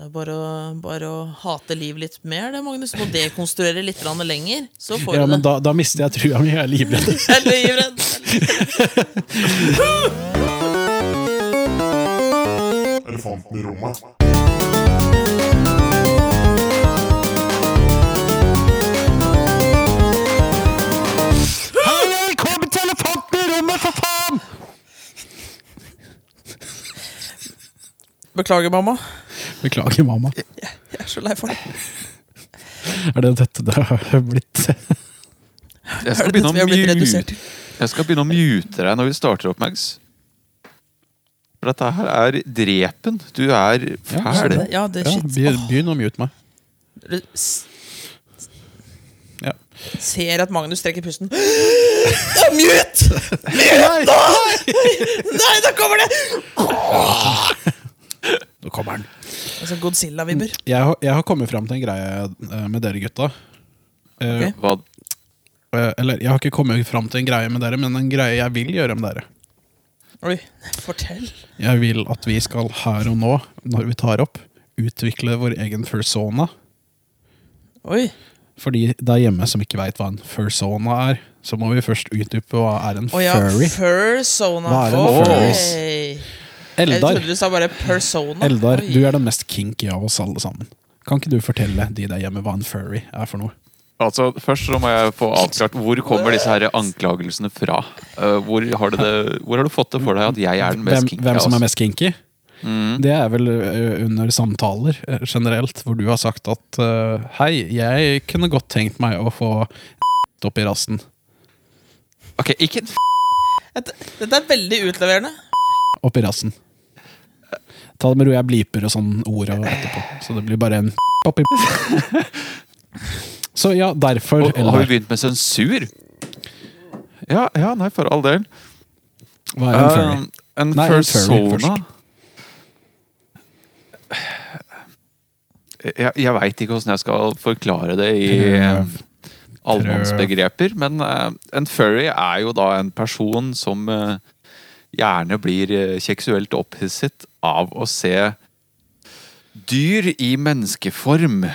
er Bare å, bare å hate livet litt mer, det, Magnus. Du må dekonstruere litt grann lenger, så får Ja, du men det. da, da mister jeg trua mi. Jeg er livredd. Jeg er livredd. Elefanten i rommet. Velkommen til Elefanten i rommet, for faen! Beklager, mamma. Beklager, mamma. Jeg er så lei for det. Er det dette det har blitt? Jeg skal, Er det begynne å dette vi har blitt mute, redusert? jeg skal begynne å mute deg når vi starter opp, Mags. For dette her er drepen. Du er fæl. skjønner. Ja, det er Ja, shit. begynn begynn å mute meg. Du s- Ja. Ser at Magnus trekker pusten. Det er mute! Nå Nei, da kommer det! kommer den. Altså Godzilla-vibber. Jeg, har- jeg har kommet fram til en greie eh, med dere gutta. Eh, Ok. Hva? eh, Eller jeg har ikke kommet fram til en greie med dere, men en greie jeg vil gjøre med dere. Oi, fortell. Jeg vil at vi skal her og nå, når vi tar opp, utvikle vår egen fursona. Oi. For de der hjemme som ikke veit hva en fursona er, så må vi først utdype hva er en Å ja, furry. fursona. Hva er en Oi. furry? Jeg Eldar, trodde du sa bare persona. Eldar, Oi. du er den mest kinky av oss alle sammen. Kan ikke du fortelle de der hjemme hva en furry er for noe? Altså, først så må jeg få avklart hvor kommer disse her anklagelsene fra. Eh, hvor, har du det, hvor har du fått det for deg at jeg er den mest Hvem, kinky? hvem som er av oss? Mm. mest kinky? Det er vel ø, under samtaler ø, generelt, hvor du har sagt at ø, hei, jeg kunne godt tenkt meg å få opp i rassen. Ok, ikke en f... Dette, dette er veldig utleverende. Opp i rassen. Ta det med ro, jeg bliper og sånn ord og etterpå. Så det blir bare en opp i Så ja, derfor Har vi Eldar, begynt med sensur? Ja, ja, nei, for all del. hva er en furry? Eh, en Nei, en furry persona først. Jeg, jeg veit ikke åssen jeg skal forklare det i Prøv. allmannsbegreper, men eh, en furry er jo da en person som eh, gjerne blir eh, seksuelt opphisset av å se dyr i menneskeform,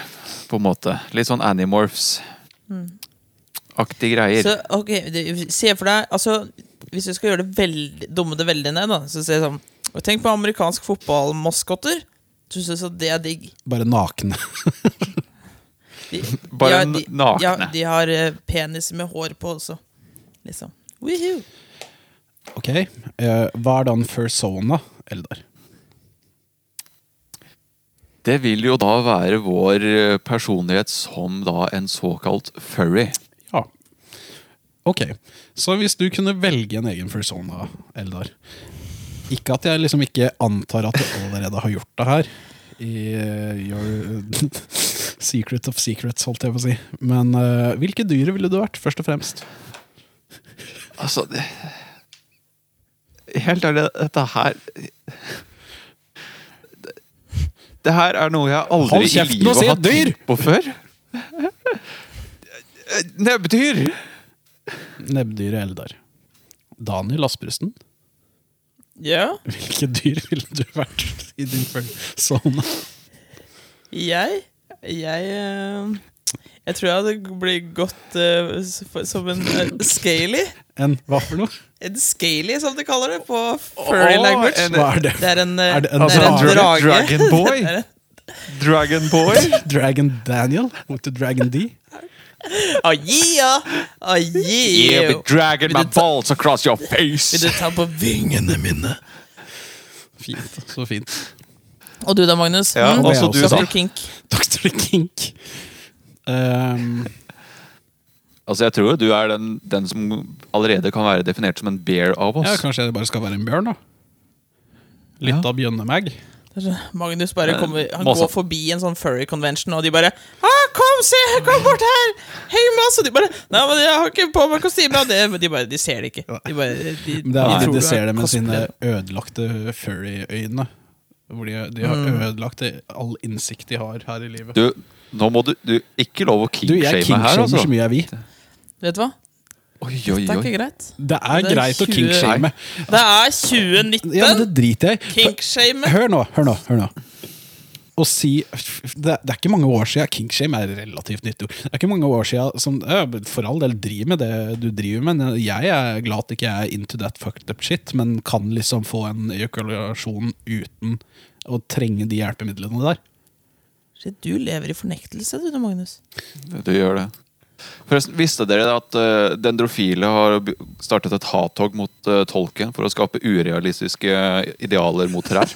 på en måte. Litt sånn Animorphs-aktige greier. Så, ok, det- Se for deg altså, Hvis du skal gjøre det veldig, dumme det veldig ned, da, så se sånn og Tenk på amerikansk fotballmaskotter. Du syns at det er digg. Bare nakne. De, Bare ja, n- de- nakne. Ja, de har eh, penis med hår på også. Liksom. Woohoo. Ok, eh, hva er da en fursona, Eldar? Det vil jo da være vår eh, personlighet som da en såkalt furry. Ja. Ok, så hvis du kunne velge en egen fursona, Eldar Ikke at jeg liksom ikke antar at du allerede har gjort det her i eh, your secret of secrets, holdt jeg på å si. Men eh, hvilke dyr ville du vært, først og fremst? Altså det, Helt ærlig, dette her det, det her er noe jeg aldri Hold i kjeften og livet si har et dyr! tenkt på før. Nebbdyr! Nebbdyret Eldar. Daniel Asbrusten, Ja, hvilke dyr ville du vært i din fursona? jeg Jeg eh, Jeg tror jeg hadde blitt godt eh, s- for- som en eh, scaly. En hva for noe? En scaly, som de kaller det på furry Åh, language. en- Hva er det? Det er en, eh, Er det en det er en drage? drage. Dragon boy? Det er en- Dragon boy? Dragon Daniel mot Dragon D. Ah, yeah! Ah, yeah. Yeah, we dragging my Vil du ta- balls across your Vil face! du ta på vingene mine? Fint, så fint. Og du da, Magnus? Ja, Mm? og også det du, er også- da. Dr. Kink. Dr. Kink. Ehm, Altså, jeg tror jo du er den, den som allerede kan være definert som en bear av oss. ja, kanskje jeg bare skal være en bjørn, da. Litt Ja. av bjønnemag. Magnus bare Eh, kommer Han Måsa. går forbi en sånn furry convention, og de bare ah, 'Kom, se! Kom bort her! Hei, Mads!' Og de bare 'Nei, men jeg har ikke på meg kostyme.' Og det, men de bare De ser det ikke. De bare De, de, Men det er tror fordi du de er ser det med cosplayer. sine ødelagte furry-øyne. Hvor de, de har ødelagt det- all innsikt de har her i livet. Du, nå må du, du Ikke lov å Du, jeg kinkshame her, kinkshamer altså. så mye jeg vil. Vet du hva? Oi, oi, Det er oi. ikke greit. Det er Det er greit å 20 kinkshame. Det er 2019! Ja, men det driter jeg i. For- Kinkshame. Hør nå, hør nå. hør nå å si det, det er ikke mange år siden Kingshame er et relativt nytt ord. Det er ikke mange år siden som ja, For all del, driv med det du driver med. men Jeg er glad at ikke jeg er into that fucked up shit, men kan liksom få en ejakulasjon uten å trenge de hjelpemidlene der. Shit, du lever i fornektelse, du, Magnus. Du gjør det. Forresten, Visste dere at eh, dendrofile har b- startet et hattog mot eh, tolken for å skape urealistiske eh, idealer mot trær?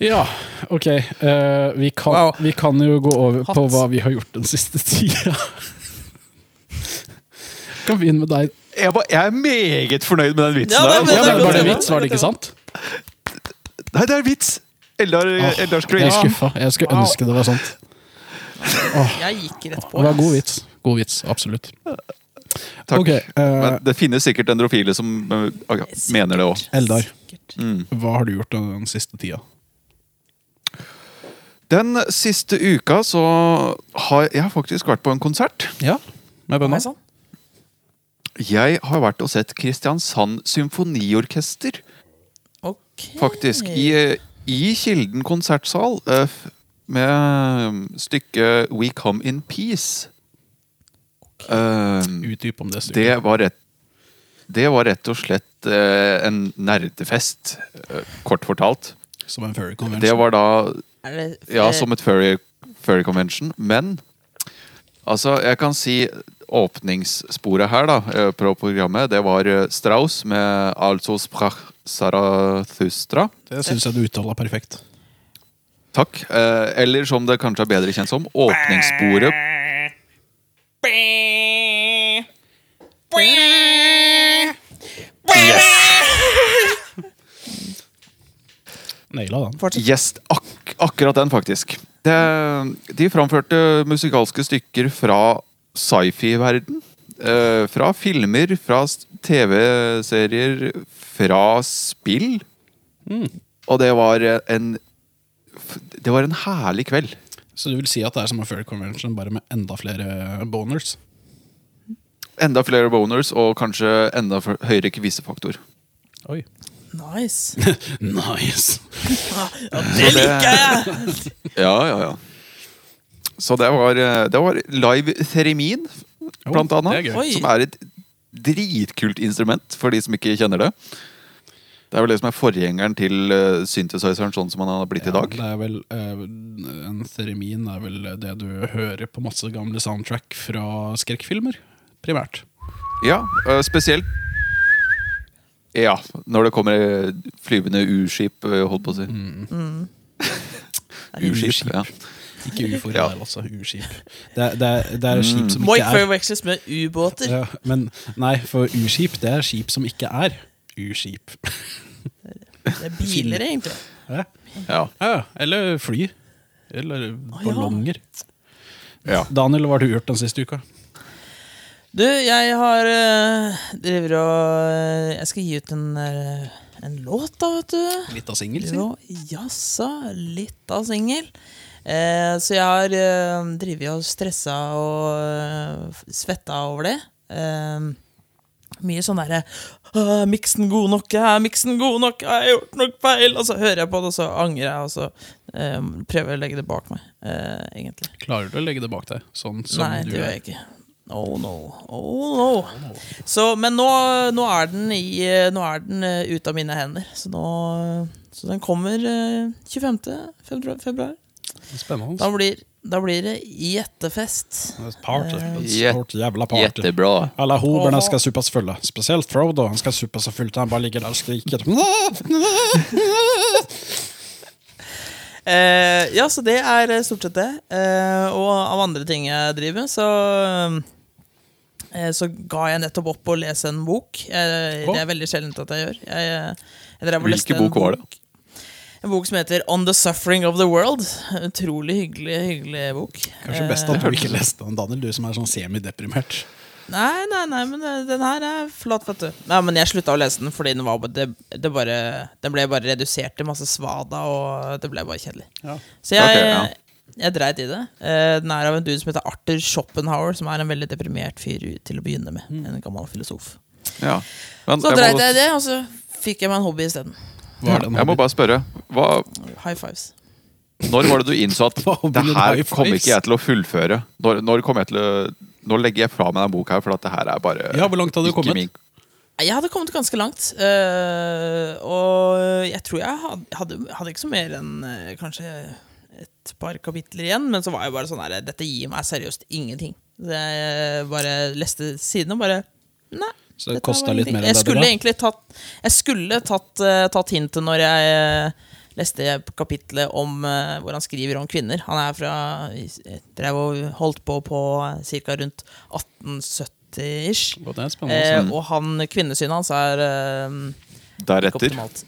Ja, ok. eh, vi, kan, Wow. vi kan jo gå over på Hatt. hva vi har gjort den siste tida. kan begynne med deg. Jeg, var, jeg er meget fornøyd med den vitsen. Ja, der, det er altså. Ja, godt, det er bare det er en vits, var det ikke sant? Nei, det er vits! Eldar, Eldar Jeg er Screen. skuffa. Jeg skulle ønske det var sant. Jeg gikk rett på. Det var ass. god vits. God vits, absolutt. Takk. Ok, eh, Men det finnes sikkert dendrofile som eh, ak- Sikkert. mener det Mm. òg. Eldar. Sikkert. Mm. Hva har du gjort den siste tida? Den siste uka så har jeg faktisk vært på en konsert. Ja, med Nei, bønna. sånn. Jeg har vært og sett Kristiansand Symfoniorkester. Ok. faktisk. I, eh, i Kilden konsertsal eh, f- med um, stykket We Come In Peace. Eh, Utdyp om det. Sture. det var rett det var rett og slett eh, en nerdefest, eh, kort fortalt. Som en furry convention. Det var da Er det, ja, eh, som et furry, furry convention, men altså, jeg kan si åpningssporet her da, eh, på programmet, det var eh, Strauss med Altså sprach Zarathustra. Det syns jeg du uttala perfekt. Takk. Eh, eller som det kanskje er bedre kjent som, åpningssporet Naila den. Fortsett. Yes, ak akkurat den, faktisk. Det, de framførte musikalske stykker fra sci-fi-verden. eh, fra filmer, fra s- TV-serier, fra spill. Og det var eh, en f- Det var en herlig kveld. Så du vil si at det er som en furry convention, bare med enda flere eh, boners? Enda flere boners og kanskje enda f- høyere kvisefaktor. Oi. Nice. Nice. Ja, det liker jeg! Ja, ja, ja. Så det var, eh, det var live theremin, Jo, blant annet. Oh, det er gøy. Oi. Som er et dritkult instrument, for de som ikke kjenner det. Det er vel det som er forgjengeren til eh, synthesizeren, sånn som han har blitt i dag. Ja, det er vel, eh, en theremin er vel det du hører på masse gamle soundtrack fra skrekkfilmer, primært. Ja, eh, spesielt Ja, når det kommer eh, flyvende U-skip, eh, holdt på å si. Mm. Mm. U-skip, ja. Ikke ufoer, Ja. ja. altså. Urskip. Det er, det er, det er skip som Må ikke ikke er forveksles med ubåter. ja, Men nei, for urskip det er skip som ikke er urskip. Det er biler, egentlig. Ja, ja. ja, eller fly. Eller ja. ballonger. Ja. Daniel, hva har du gjort den siste uka? Du, jeg har eh, driver og eh, Jeg skal gi ut en, eh, en låt, da, vet du. Litt av singel, si. Jo, jaså, litt av singel. Eh, så jeg har eh, drevet og stressa og eh, svetta over det. Eh, mye sånn derre «Åh, 'Er miksen god nok? Er miksen god nok? Har jeg gjort nok feil?' Og så hører jeg på det, og så angrer jeg, og så eh, prøver jeg å legge det bak meg, eh, egentlig. Klarer du å legge det bak deg? Sånn som Nei, du det gjør er. jeg ikke. Oh no. Oh no. Så, men nå, nå er den, i, nå er den eh, ute av mine hender. Så, nå, så den kommer eh, 25. februar. februar. Da, Spennende. blir, da blir det gjettefest. Det er et Party. Et Jet- stort jævla party. Jettebra. Alle hoberne Eh, Åh. skal suppas fulle. Spesielt Frodo. Han skal suppas så fullt han bare ligger der og skriker. Eh, ja, så det er eh, stort sett det. Eh, og av andre ting jeg driver med, så eh, så ga jeg nettopp opp å lese en bok. Eh, Åh. Det er veldig sjeldent at jeg gjør. Jeg, eh, jeg drev og leste Hvilken en bok var det? En bok som heter On the Suffering of the World. Utrolig hyggelig hyggelig bok. Kanskje best at du Eh. ikke leste den, Daniel, du som er sånn semideprimert. Nei, nei, nei, men eh, den her er flat, vet du. Nei, men jeg slutta å lese den fordi den, var, det, det bare, den ble bare redusert til masse svada, og det ble bare kjedelig. Ja. Så jeg, Ok, ja. jeg dreit i det. Eh, Den er av en dude som heter Arthur Schopenhauer, som er en veldig deprimert fyr til å begynne med. En gammel filosof. Ja. Men Så dreit må- jeg i det, og så fikk jeg meg en hobby isteden. Hva er det Jeg må bare spørre. Hva, High fives. Når var det du innså at Hva om det den her high kommer fives? ikke jeg til å fullføre? Når, når kommer jeg til å Nå legger jeg fra meg denne boka her, for at det her er bare Ja, hvor langt hadde du ikke kommet? min- Nei, Jeg hadde kommet ganske langt. eh, og jeg tror jeg had- hadde, hadde ikke så mer enn eh, kanskje et par kapitler igjen. Men så var jeg bare sånn her Dette gir meg seriøst ingenting. Så jeg bare leste siden og bare Nei. Så dette det her kosta var litt ingenting. mer enn jeg det du skulle ga? egentlig tatt Jeg skulle tatt, eh, tatt hintet når jeg eh, leste kapitlet om eh, hvor han skriver om kvinner. Han er fra Drev og holdt på på ca. rundt 1870-ish. Å, Det er spennende. altså. Eh, og han, kvinnesynet hans er eh, ikke deretter. optimalt.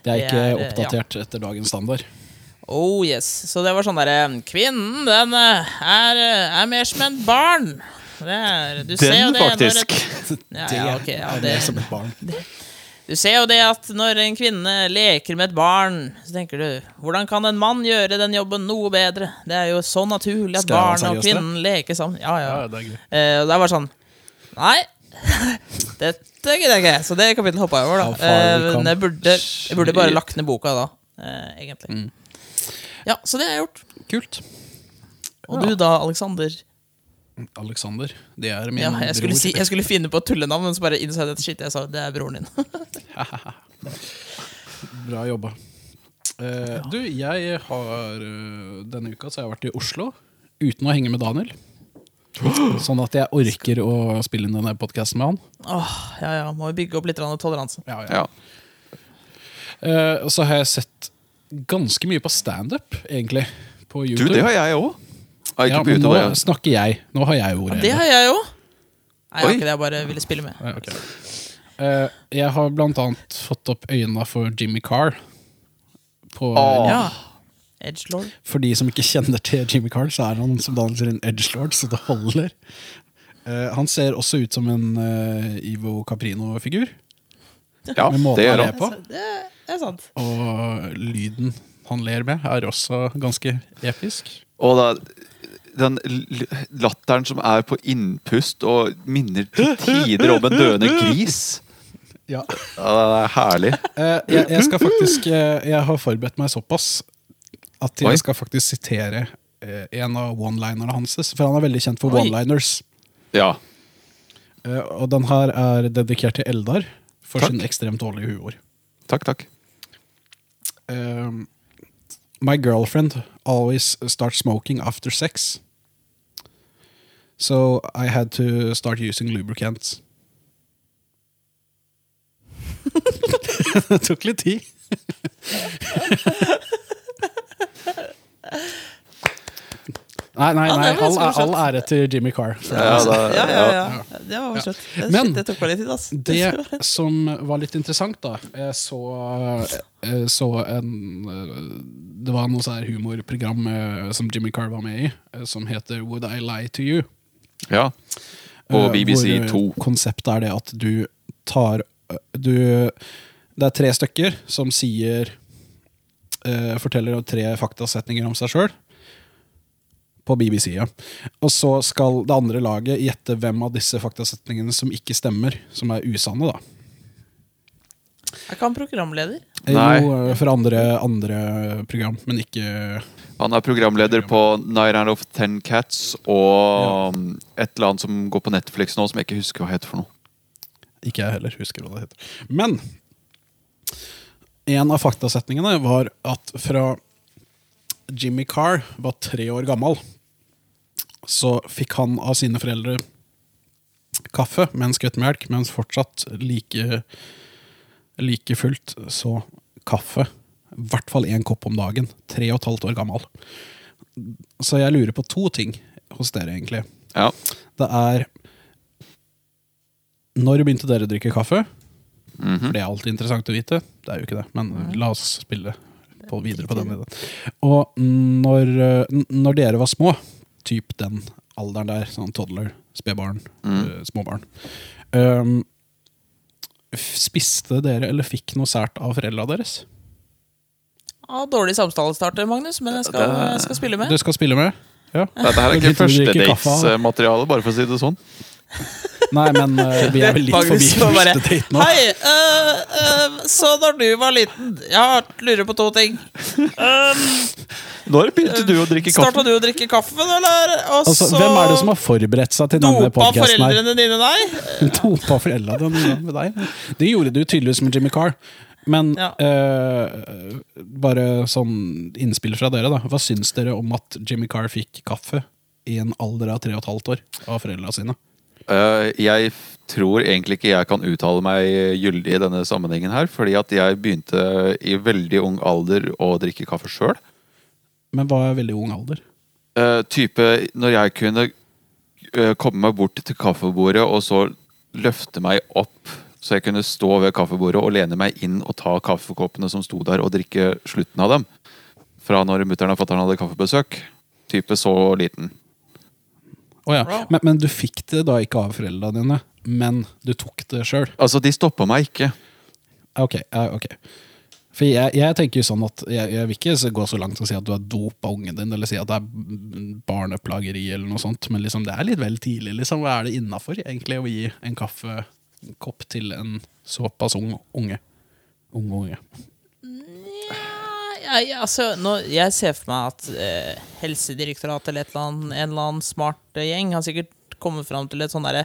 Det er ikke det er, eh, oppdatert etter dagens standard. Oh yes. Så det var sånn derre Kvinnen, den eh, er, eh, er mer som en barn. Det er, du ser jo Den, det når et- faktisk! Ja, ja, ok, ja, er det, mer som et barn. du ser jo det at når en kvinne leker med et barn, så tenker du Hvordan kan en mann gjøre den jobben noe bedre? Det er jo så naturlig at Skal jeg barn være og seriøs, det? kvinnen leker sammen. Ja, ja. Ja, det er gøy. Eh, og det er bare sånn Nei, dette gidder jeg ikke. Så det kapittelet hoppa jeg over. How da far Eh, we come. Men jeg burde, jeg burde bare lagt ned boka da, eh, egentlig. Mm. Ja, så det har jeg gjort. Kult. Og du da, Aleksander? Alexander. Det er min Ja, jeg, skulle bror. si, jeg skulle finne på et tullenavn, men så bare innså jeg at shit, jeg sa det er broren din. Bra jobba. Eh, du, jeg har eh, denne uka så har jeg vært i Oslo uten å henge med Daniel. Sånn at jeg orker å spille inn denne podkasten med han. Åh, ja, ja, Må jo bygge opp litt grann toleranse. Ja, ja. Ja. Eh, og så har jeg sett ganske mye på standup, egentlig. På Du, YouTube. det har jeg òg. ja, Har ikke men begynt nå med det. snakker jeg. Nå har jeg ordet. Det har jeg òg. Nei, jeg har Oi. ikke det, jeg bare ville spille med. Ja, ok. Eh, jeg har blant annet fått opp øynene for Jimmy Carr. På, Åh. Ja. Edgelord. For de som ikke kjenner til Jimmy Carr, så er han som Daniel sier en edgelord, så det holder. Eh, han ser også ut som en eh, Ivo Caprino-figur. Ja, med måten det gjør han han. er på. Altså, Det er sant. Og lyden han ler med, er også ganske episk. Og da, den l- latteren som er på innpust og minner til tider om en døende gris. Ja. Ja, det er herlig. Eh, jeg, jeg skal faktisk eh, Jeg har forberedt meg såpass at Oi. jeg skal faktisk sitere eh, en av one-linerne hans. For han er veldig kjent for Oi. one-liners. Ja. Eh, og den her er dedikert til Eldar for Takk. sin ekstremt dårlige humor. Takk, takk. Um, my girlfriend always starts smoking after sex. So I had to start using lubricants. det tok litt tid. nei, nei, Ja, det nei. var All, er, ganske all ære til Jimmy Carr. Ja, da, Ja, ja, ja. ja. Det var slett. Det- Men- shit, det tok bare litt tid, ass. Det som var litt interessant, da Jeg så, jeg så en eh, Det var noe sånn her humorprogram eh, som Jimmy Carr var med i, eh, som heter Would I Lie to You? ja. På Eh, BBC hvor, eh, 2. Konseptet er det at du tar eh, du, Det er tre stykker som sier eh, Forteller om tre faktasetninger om seg sjøl. På BBC, ja. Og så skal det andre laget gjette hvem av disse faktasetningene som ikke stemmer, som er usanne, da. Er ikke han programleder? Eh, Nei. Jo, eh, for andre, andre program, men ikke Han er programleder på Nine Out of Ten Cats og um, et eller annet som går på Netflix nå, som jeg ikke husker hva heter for noe. Ikke jeg heller husker hva det heter. Men en av faktasetningene var at fra Jimmy Carr var tre år gammel, så fikk han av sine foreldre kaffe med en skvett melk, mens fortsatt like, like fullt så kaffe. I hvert fall én kopp om dagen. Tre og et halvt år gammel. Så jeg lurer på to ting hos dere, egentlig. Ja. Det er Når begynte dere å drikke kaffe? Mhm. For det er alltid interessant å vite. Det er jo ikke det, men la oss spille på videre på den ideen. Og når, eh, n- når dere var små, typ den alderen der, sånn toddler, spedbarn, Mm. eh, småbarn ehm, f- Spiste dere eller fikk noe sært av foreldra deres? Ja, dårlig samtalestarter, Magnus, men jeg skal, Det- jeg skal spille med. Du skal spille med? Ja. Dette her er Begynte ikke du å drikke kaffe av- førstedatesmateriale, bare for å si det sånn. Nei, men eh, vi er vel litt forbi Magnus var bare første date nå. Hei, øh, øh, så da du var liten Jeg lurer på to ting. Um, Når begynte du å drikke Starta kaffe? du å drikke kaffen, eller? Og Altså, så hvem er det som har forberedt seg til denne dopa podkasten her? foreldrene dine deg? Dopa foreldra dine med deg? Det gjorde du tydeligvis med Jimmy Carr. Men Ja. eh, bare sånn innspill fra dere, da. Hva syns dere om at Jimmy Carr fikk kaffe i en alder av tre og et halvt år av foreldra sine? Eh, jeg tror egentlig ikke jeg kan uttale meg gyldig i denne sammenhengen her, fordi at jeg begynte i veldig ung alder å drikke kaffe sjøl. Men var veldig ung alder. Eh, type når jeg kunne eh, komme meg bort til kaffebordet og så løfte meg opp, så jeg kunne stå ved kaffebordet og lene meg inn og ta kaffekoppene som sto der, og drikke slutten av dem. Fra når mutter'n og fatter'n hadde kaffebesøk. Type så liten. Å ja. men, men du fikk det da ikke av foreldra dine, men du tok det sjøl? Altså, de stoppa meg ikke. Ok, ja, ok. For jeg, jeg tenker jo sånn at jeg, jeg vil ikke så- gå så langt og si at du er dopa ungen din, eller si at det er b- barneplageri eller noe sånt, men liksom det er litt vel tidlig. liksom. Hva er det innafor egentlig å gi en kaffekopp til en såpass ung unge? Ung unge. Jeg, jeg- altså, nå, jeg ser for meg at eh, Helsedirektoratet eller, et eller annet, en eller annen smart eh, gjeng har sikkert kommet fram til et sånn derre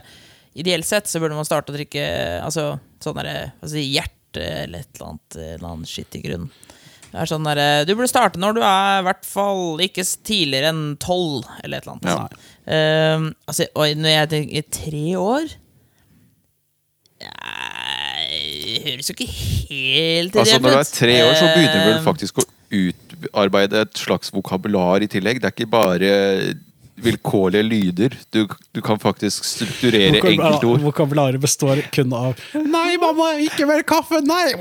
Ideelt sett så burde man starte å drikke eh, altså, sånn derre hva skal jeg si, hjerte eller et eller annet, eh, en eller annen skitt i grunnen. Det er sånn derre Du burde starte når du er i hvert fall ikke s- tidligere enn tolv, eller et eller annet. Ja. Ehm, altså, og når jeg tenker tre år Nei, Høres jo ikke helt Altså, ideelt når du er ut. tre år, så begynner du vel Ehm, faktisk å utarbeide et slags vokabular i tillegg. Det er ikke bare vilkårlige lyder. Du, du kan faktisk strukturere enkeltord. Vokabularet består kun av 'nei, mamma, ikke mer kaffe', nei!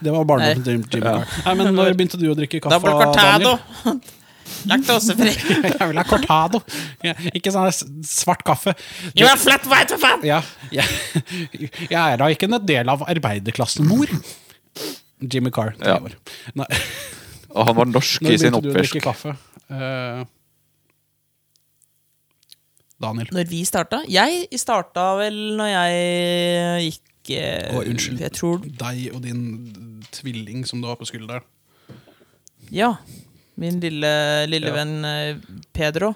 Det var barndommen til Jim Jim Carr. Nei, men Når begynte du å drikke kaffe? Double cortado. Daniel? Laktosefri. Jeg vil ha cortado! Ja, Ikke sånn s- svart kaffe. You are flat white, for faen! Ja, jeg, jeg er da ikke en del av arbeiderklassen, mor. Jimmy Carr, tre Ja. år. Nei, Og han var norsk når i sin begynte du å drikke oppvekst. kaffe? Eh, Daniel. Når vi starta? Jeg starta vel når jeg gikk eh, Å, unnskyld. Jeg tror Deg og din tvilling som du har på skulderen. Ja. Min lille, lille Ja. venn eh, Pedro.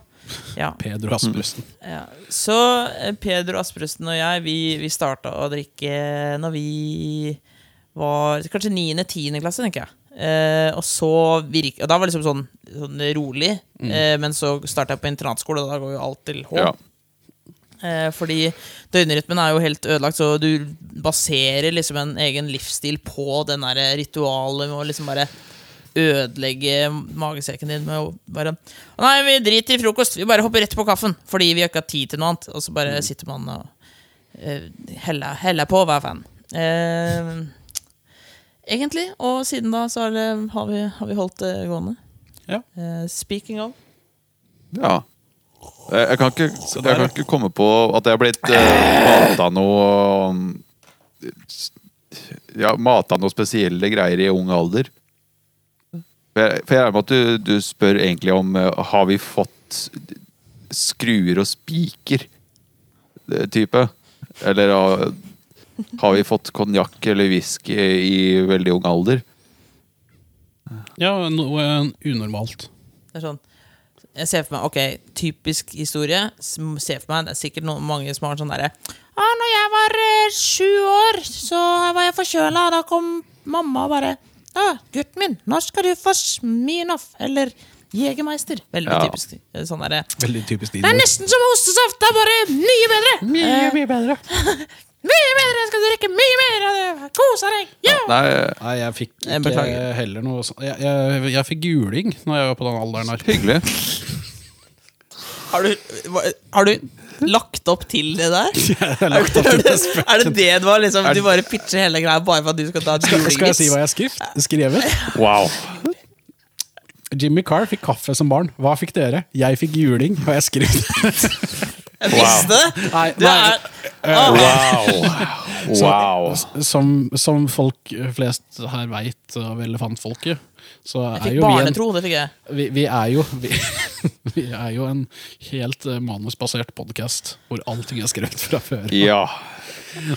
Ja. Pedro Asmussen. ja. Så eh, Pedro Asprøsten og jeg, vi, vi starta å drikke når vi var kanskje 9.-10. klasse, tenker jeg. Eh, og så virk, og da var det liksom sånn, sånn rolig, Mm. eh, men så starta jeg på internatskole, og da går jo alt til H. Ja. Eh, fordi døgnrytmen er jo helt ødelagt, så du baserer liksom en egen livsstil på den der ritualet med å liksom bare ødelegge magesekken din med å bare «Å Nei, vi driter i frokost, vi bare hopper rett på kaffen fordi vi har ikke hatt tid til noe annet. Og så bare sitter man og eh, heller, heller på hver fan. Eh, egentlig. Og siden da så har, det, har, vi, har vi holdt det gående. Ja. Eh, speaking of Ja. Eh, Jeg kan ikke, jeg kan ikke komme på at jeg har blitt eh, mata noe um, s- Ja, mata noe spesielle greier i ung alder. For jeg for jeg regner med at du, du spør egentlig om eh, har vi fått skruer og spiker eh, type. Eller eh, har vi fått konjakk eller whisky i veldig ung alder? Ja, noe unormalt. Det er sånn Jeg ser for meg, ok, typisk historie sm- Ser for meg, det er sikkert noen, mange som har sånn derre Ja, når jeg var eh, sju år, så var jeg forkjøla, og da kom mamma og bare Ja, gutten min, når skal du få Smirnoff eller Jegermeister? Veldig Ja. typisk. eh, Sånn derre Veldig typisk Det er nesten som ostesaft, det er bare mye bedre! Eh, Mye, mye bedre. Mye bedre! Skal du drikke mye mer? og det- Kose deg! Ja! Nei, Nei, jeg fikk Jeg ikke beklager. heller noe sånt. Jeg, jeg, jeg fikk juling når jeg var på den alderen her. hyggelig. Har du, hva- har du lagt opp til det der? Jeg har lagt opp Er dette det, er det det du har liksom Du bare pitcher hele greia bare for at du skal ta liksom? et Skal, skal jeg si hva julevits? jeg skriv, skrevet? Wow. Jimmy Carr fikk kaffe som barn. Hva fikk dere? Jeg fikk juling, og jeg skrev Jeg visste det! Nei, Du nei. er, Ah, Wow. Wow. Så, som, som folk flest her veit av elefantfolket, så Jeg er fikk jo vi en barnetro, det fikk jeg. vi, vi er jo vi, vi er jo en helt eh, manusbasert podkast hvor allting er skrevet fra før. Ja.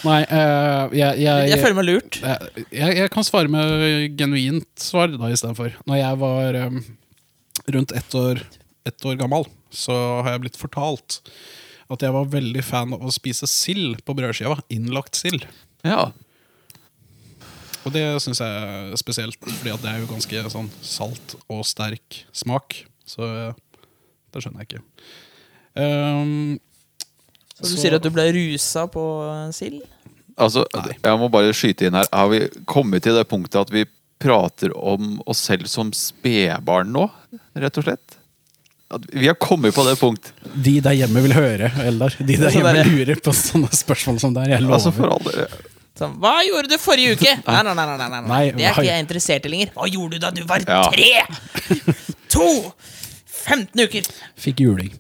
Nei, eh, jeg, jeg, Jeg føler meg lurt. jeg, Eh, jeg, jeg kan svare med genuint svar da istedenfor. Når jeg var eh, rundt ett år, ett år gammel, så har jeg blitt fortalt at jeg var veldig fan av å spise sild på brødskiva. Innlagt sild. ja. Og det syns jeg er spesielt, fordi at det er jo ganske sånn salt og sterk smak. Så eh, det skjønner jeg ikke. Ehm, Så du så- sier at du ble rusa på eh, sild? Altså, jeg må bare skyte inn her. Har vi kommet til det punktet at vi prater om oss selv som spedbarn nå, rett og slett? At vi har kommet på det punkt. de der hjemme vil høre, Eldar. De der Så hjemme der- lurer på sånne spørsmål som det her. Jeg Altså, lover. for all del. Sånn, Hva gjorde du forrige uke? Nei, nei, nei, nei, nei, nei. Nei, Det er hva- ikke jeg interessert i lenger. Hva gjorde du da du var Ja. tre? To? 15 uker? Fikk juling.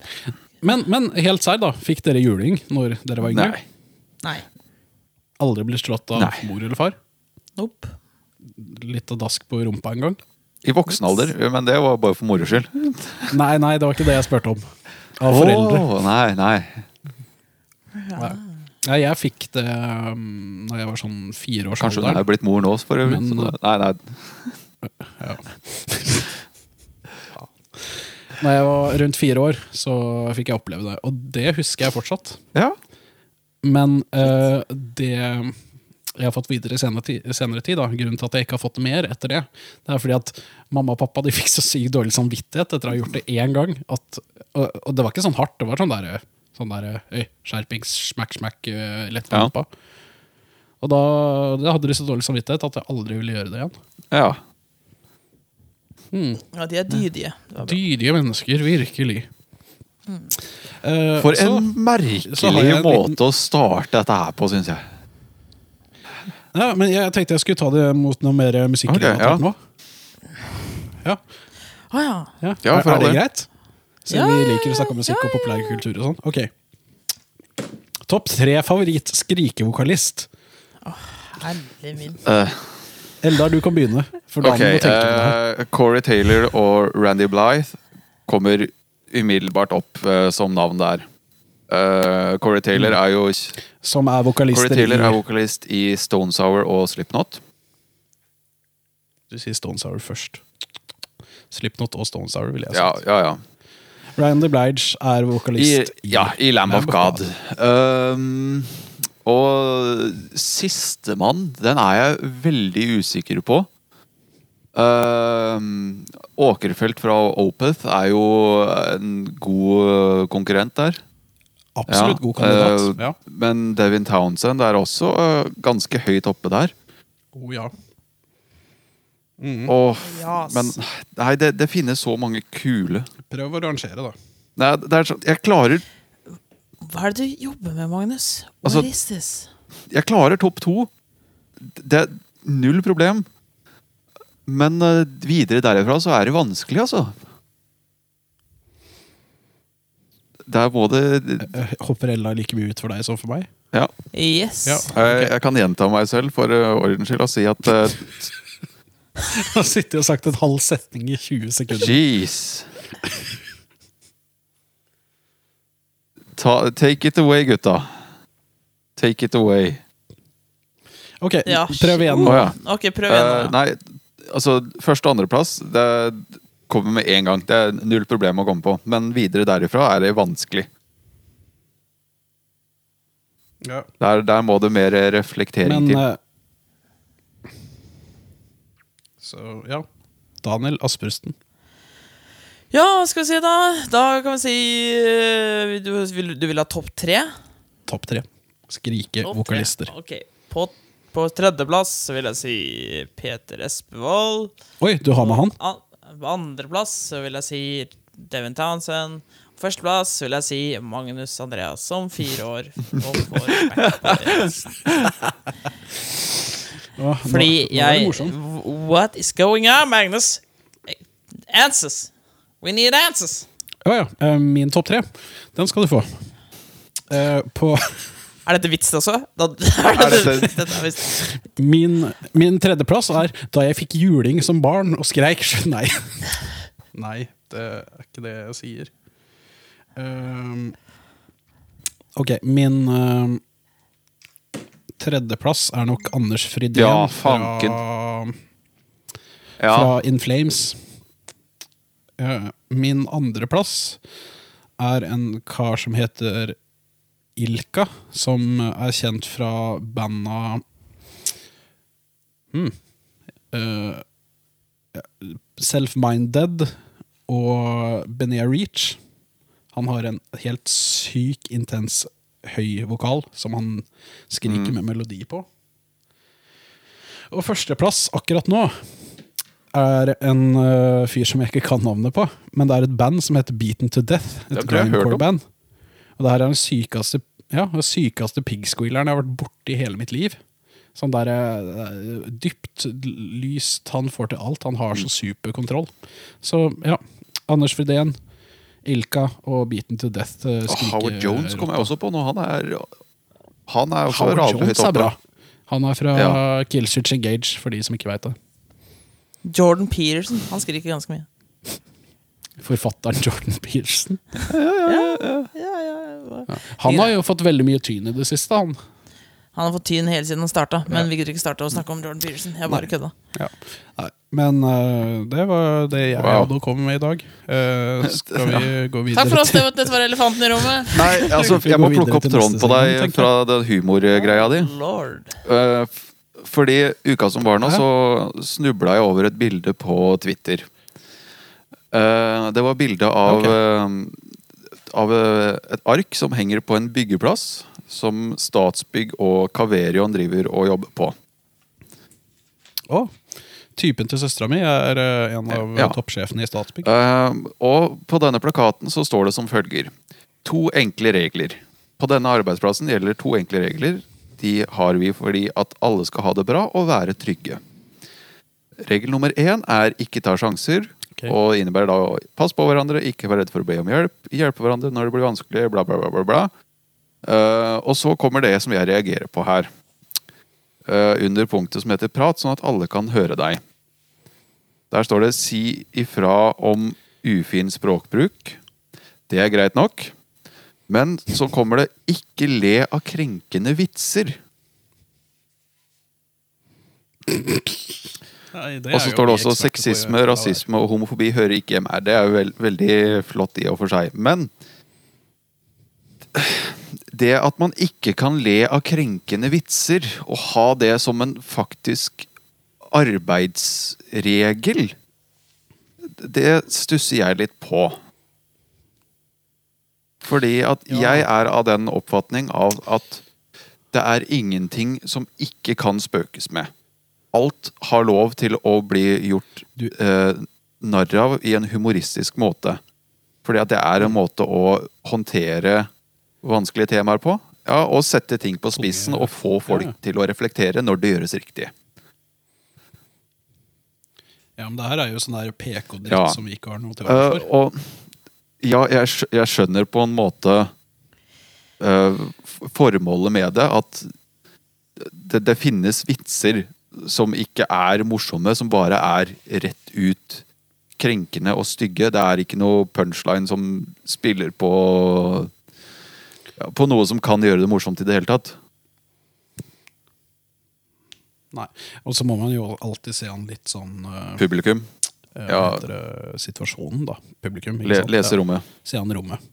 Men, men helt serr, da. Fikk dere juling når dere var yngre? Nei. Nei. Aldri blitt slått av Nei. mor eller far? Nope. Litt av dask på rumpa en gang? I voksen alder, men det var bare for moro skyld. Nei, nei, det var ikke det jeg spurte om. Av foreldre. Åh, nei, nei. Nei, jeg fikk det um, da jeg var sånn fire års Kanskje hun alder. er blitt mor nå, for øvrig. Men, eh, så det- Nei, nei. Da jeg var rundt fire år, så fikk jeg oppleve det. Og det husker jeg fortsatt. Ja. Men eh, det jeg har fått videre i senere tid, senere tid da, grunnen til at jeg ikke har fått mer etter det, det er fordi at mamma og pappa de fikk så sykt dårlig samvittighet etter å ha gjort det én gang. At, og, og det var ikke sånn hardt, det var sånn der, sånn der øy, skjerpings, smack, smack, eh, lett på Ja. rumpa. Og da, da hadde de så dårlig samvittighet at jeg aldri ville gjøre det igjen. ja. Ja, de er dydige. Det var bra. Dydige mennesker, virkelig. Eh, For så- en så har jeg merkelig en liten- måte å starte dette her på, syns jeg. ja, Men jeg tenkte jeg skulle ta det mot noe mer musikkrelatert Ok, ja. nå. Ja, Å ja. ja. Ja, er, for er det alle. greit? Siden Ja, vi liker å snakke om musikk og populærkultur og sånn. Ok. Topp tre favoritt skrikevokalist. Herre min. Eh, Eldar, du kan begynne. For da må ok, du tenke på det her. eh, Corey Taylor og Randy Blythe kommer umiddelbart opp eh, som navn der. Eh, Corey Taylor er jo Som er Corey vokalister Taylor er i vokalist i Stone Sour og Slipknot. Du sier Stone Sour først. Slipknot og Stone Sour, vil jeg si. Ja, ja, ja. Randy Blige er vokalist I, ja, i Lamb of God. Um, og sistemann, den er jeg veldig usikker på. Um, Åkerfelt fra Opeth er jo en god konkurrent der. Absolutt Ja, god kandidat. eh, ja. Men Devin Townsend er også eh, ganske høyt oppe der. Oh, ja. Mm. Og, Jas. men nei, det, det finnes så mange kule Prøv å rangere, da. Nei, det er sånn, jeg klarer Hva er det du jobber med, Magnus? What Altså- is this? Jeg klarer topp to. Det er null problem. Men eh, videre derifra så er det vanskelig, altså. Det er både Eh, Hopper Ella like mye ut for deg som for meg? Ja, Yes. Ja. jeg, jeg kan gjenta meg selv for eh, ordens skyld og si at eh, Jeg har sittet og sagt en halv setning i 20 sekunder. Jeez. Ta, take it away, gutta. Take it away. Ok, Ja. prøv igjen. Å nå. ja. Ok, prøv igjen. da. Eh, nei, altså første og andreplass det kommer med en gang. Det er null problem å komme på. Men videre derifra er det vanskelig. Ja. Der, der må det mer reflektering Men til. eh, Så, ja. Daniel Aspersten. Ja, hva skal vi si da? Da kan vi si eh, Du vil, du vil ha topp tre? Topp tre. Topp Skrikevokalister. tre. Ok. På, på tredjeplass så vil jeg si Peter Espevold. Oi, du har med han? An på andreplass så vil jeg si Devin Townsend. Førsteplass så vil jeg si Magnus Andreas som fire år. Og får smack på det. Åh, nå- Fordi nå er det jeg morsomt. What is going on, Magnus? Answers! We need answers! Å ja. eh, min topp tre, den skal du få. Eh, på Er dette vits også? Da, er Er dette, dette- dette er vits. Min, min tredjeplass er da jeg fikk juling som barn og skreik «Sj, Nei. Nei, det er ikke det jeg sier. Ehm, ok, min ehm, tredjeplass er nok Anders Fridén Ja, fra, fanken. fra Ja. In Flames. Eh, min andreplass er en kar som heter Ilka, som er kjent fra banda hmm. eh, Self-Minded og Benea Reach. Han har en helt syk intens høy vokal som han skriker Mm. med melodi på. Og førsteplass akkurat nå er en eh, fyr som jeg ikke kan navnet på, men det er et band som heter Beaten to Death. Et Det tror jeg jeg har hørt om. grindcore-band. Og det her er den sykeste, ja, den sykeste pig-squealeren jeg har vært borti i hele mitt liv. Sånn der eh, dypt, lyst, han får til alt. Han har så superkontroll. Så ja, Anders Fridén, Ilka og Beaten to Death. eh, Og skriker- Howard Jones altså kom jeg også på nå. Han er, han er også Howard radiohøyt Jones er oppe. bra. Han er fra Ja. Killswitch Engage, for de som ikke veit det. Jordan Peterson. Han skriker ganske mye. Forfatteren Jordan Pearson. Ja, ja, ja. Han har jo fått veldig mye tyn i det siste, han. Han har fått tyn hele siden han starta, men vi gidder ikke starte å snakke om Jordan Peterson. Jeg bare kødda. Nei, men eh, det var det jeg Wow. hadde å komme med i dag. Eh, skal vi gå videre Takk for oss, det var- dette var Elefanten i rommet. Nei, altså, Vi jeg går må plukke videre opp til tråden neste på segment, deg tenker fra den humorgreia di. Lord. Eh, f- Fordi uka som var nå, så snubla jeg over et bilde på Twitter. Eh, Det var bilde av, Ok. eh, av eh, et ark som henger på en byggeplass som Statsbygg og Kaverion driver og jobber på. Å, Typen til søstera mi er eh, en av Ja. toppsjefene i Statsbygg. Eh, og på denne plakaten så står det som følger To enkle regler. På denne arbeidsplassen gjelder to enkle regler. De har vi fordi at alle skal ha det bra og være trygge. Regel nummer én er ikke ta sjanser. Ok. Og innebærer da å passe på hverandre, ikke være redd for å be om hjelp, hjelpe hverandre når det blir vanskelig, bla, bla, bla. bla, bla. Eh, og så kommer det som jeg reagerer på her. Eh, under punktet som heter prat, sånn at alle kan høre deg. Der står det 'si ifra om ufin språkbruk'. Det er greit nok. Men så kommer det 'ikke le av krenkende vitser'. Nei, det er Og så jo står det vi eksperter på å også gjøre sexisme, det der. rasisme og homofobi hører ikke hjemme her. Det er jo vel- veldig flott i og for seg. Men det at man ikke kan le av krenkende vitser, og ha det som en faktisk arbeidsregel, det stusser jeg litt på. Fordi at jeg er av den oppfatning av at det er ingenting som ikke kan spøkes med. Alt har lov til å bli gjort Du- eh, narr av i en humoristisk måte. Fordi at det er en måte å håndtere vanskelige temaer på. Ja, og sette ting på spissen og få folk Ja. til å reflektere når det gjøres riktig. Ja, men det her er jo sånn der PK-dritt Ja. som vi ikke har noe til å Eh, og ja, jeg, skj- jeg skjønner på en måte eh, f- formålet med det. At det, det finnes vitser som ikke er morsomme, som bare er rett ut krenkende og stygge. Det er ikke noe punchline som spiller på ja, På noe som kan gjøre det morsomt i det hele tatt. Nei. Og så må man jo alltid se an litt sånn eh, Publikum. eh, ja. hva heter det, situasjonen, da. Publikum. ikke Le, sant? lese Ja. rommet. Se an rommet.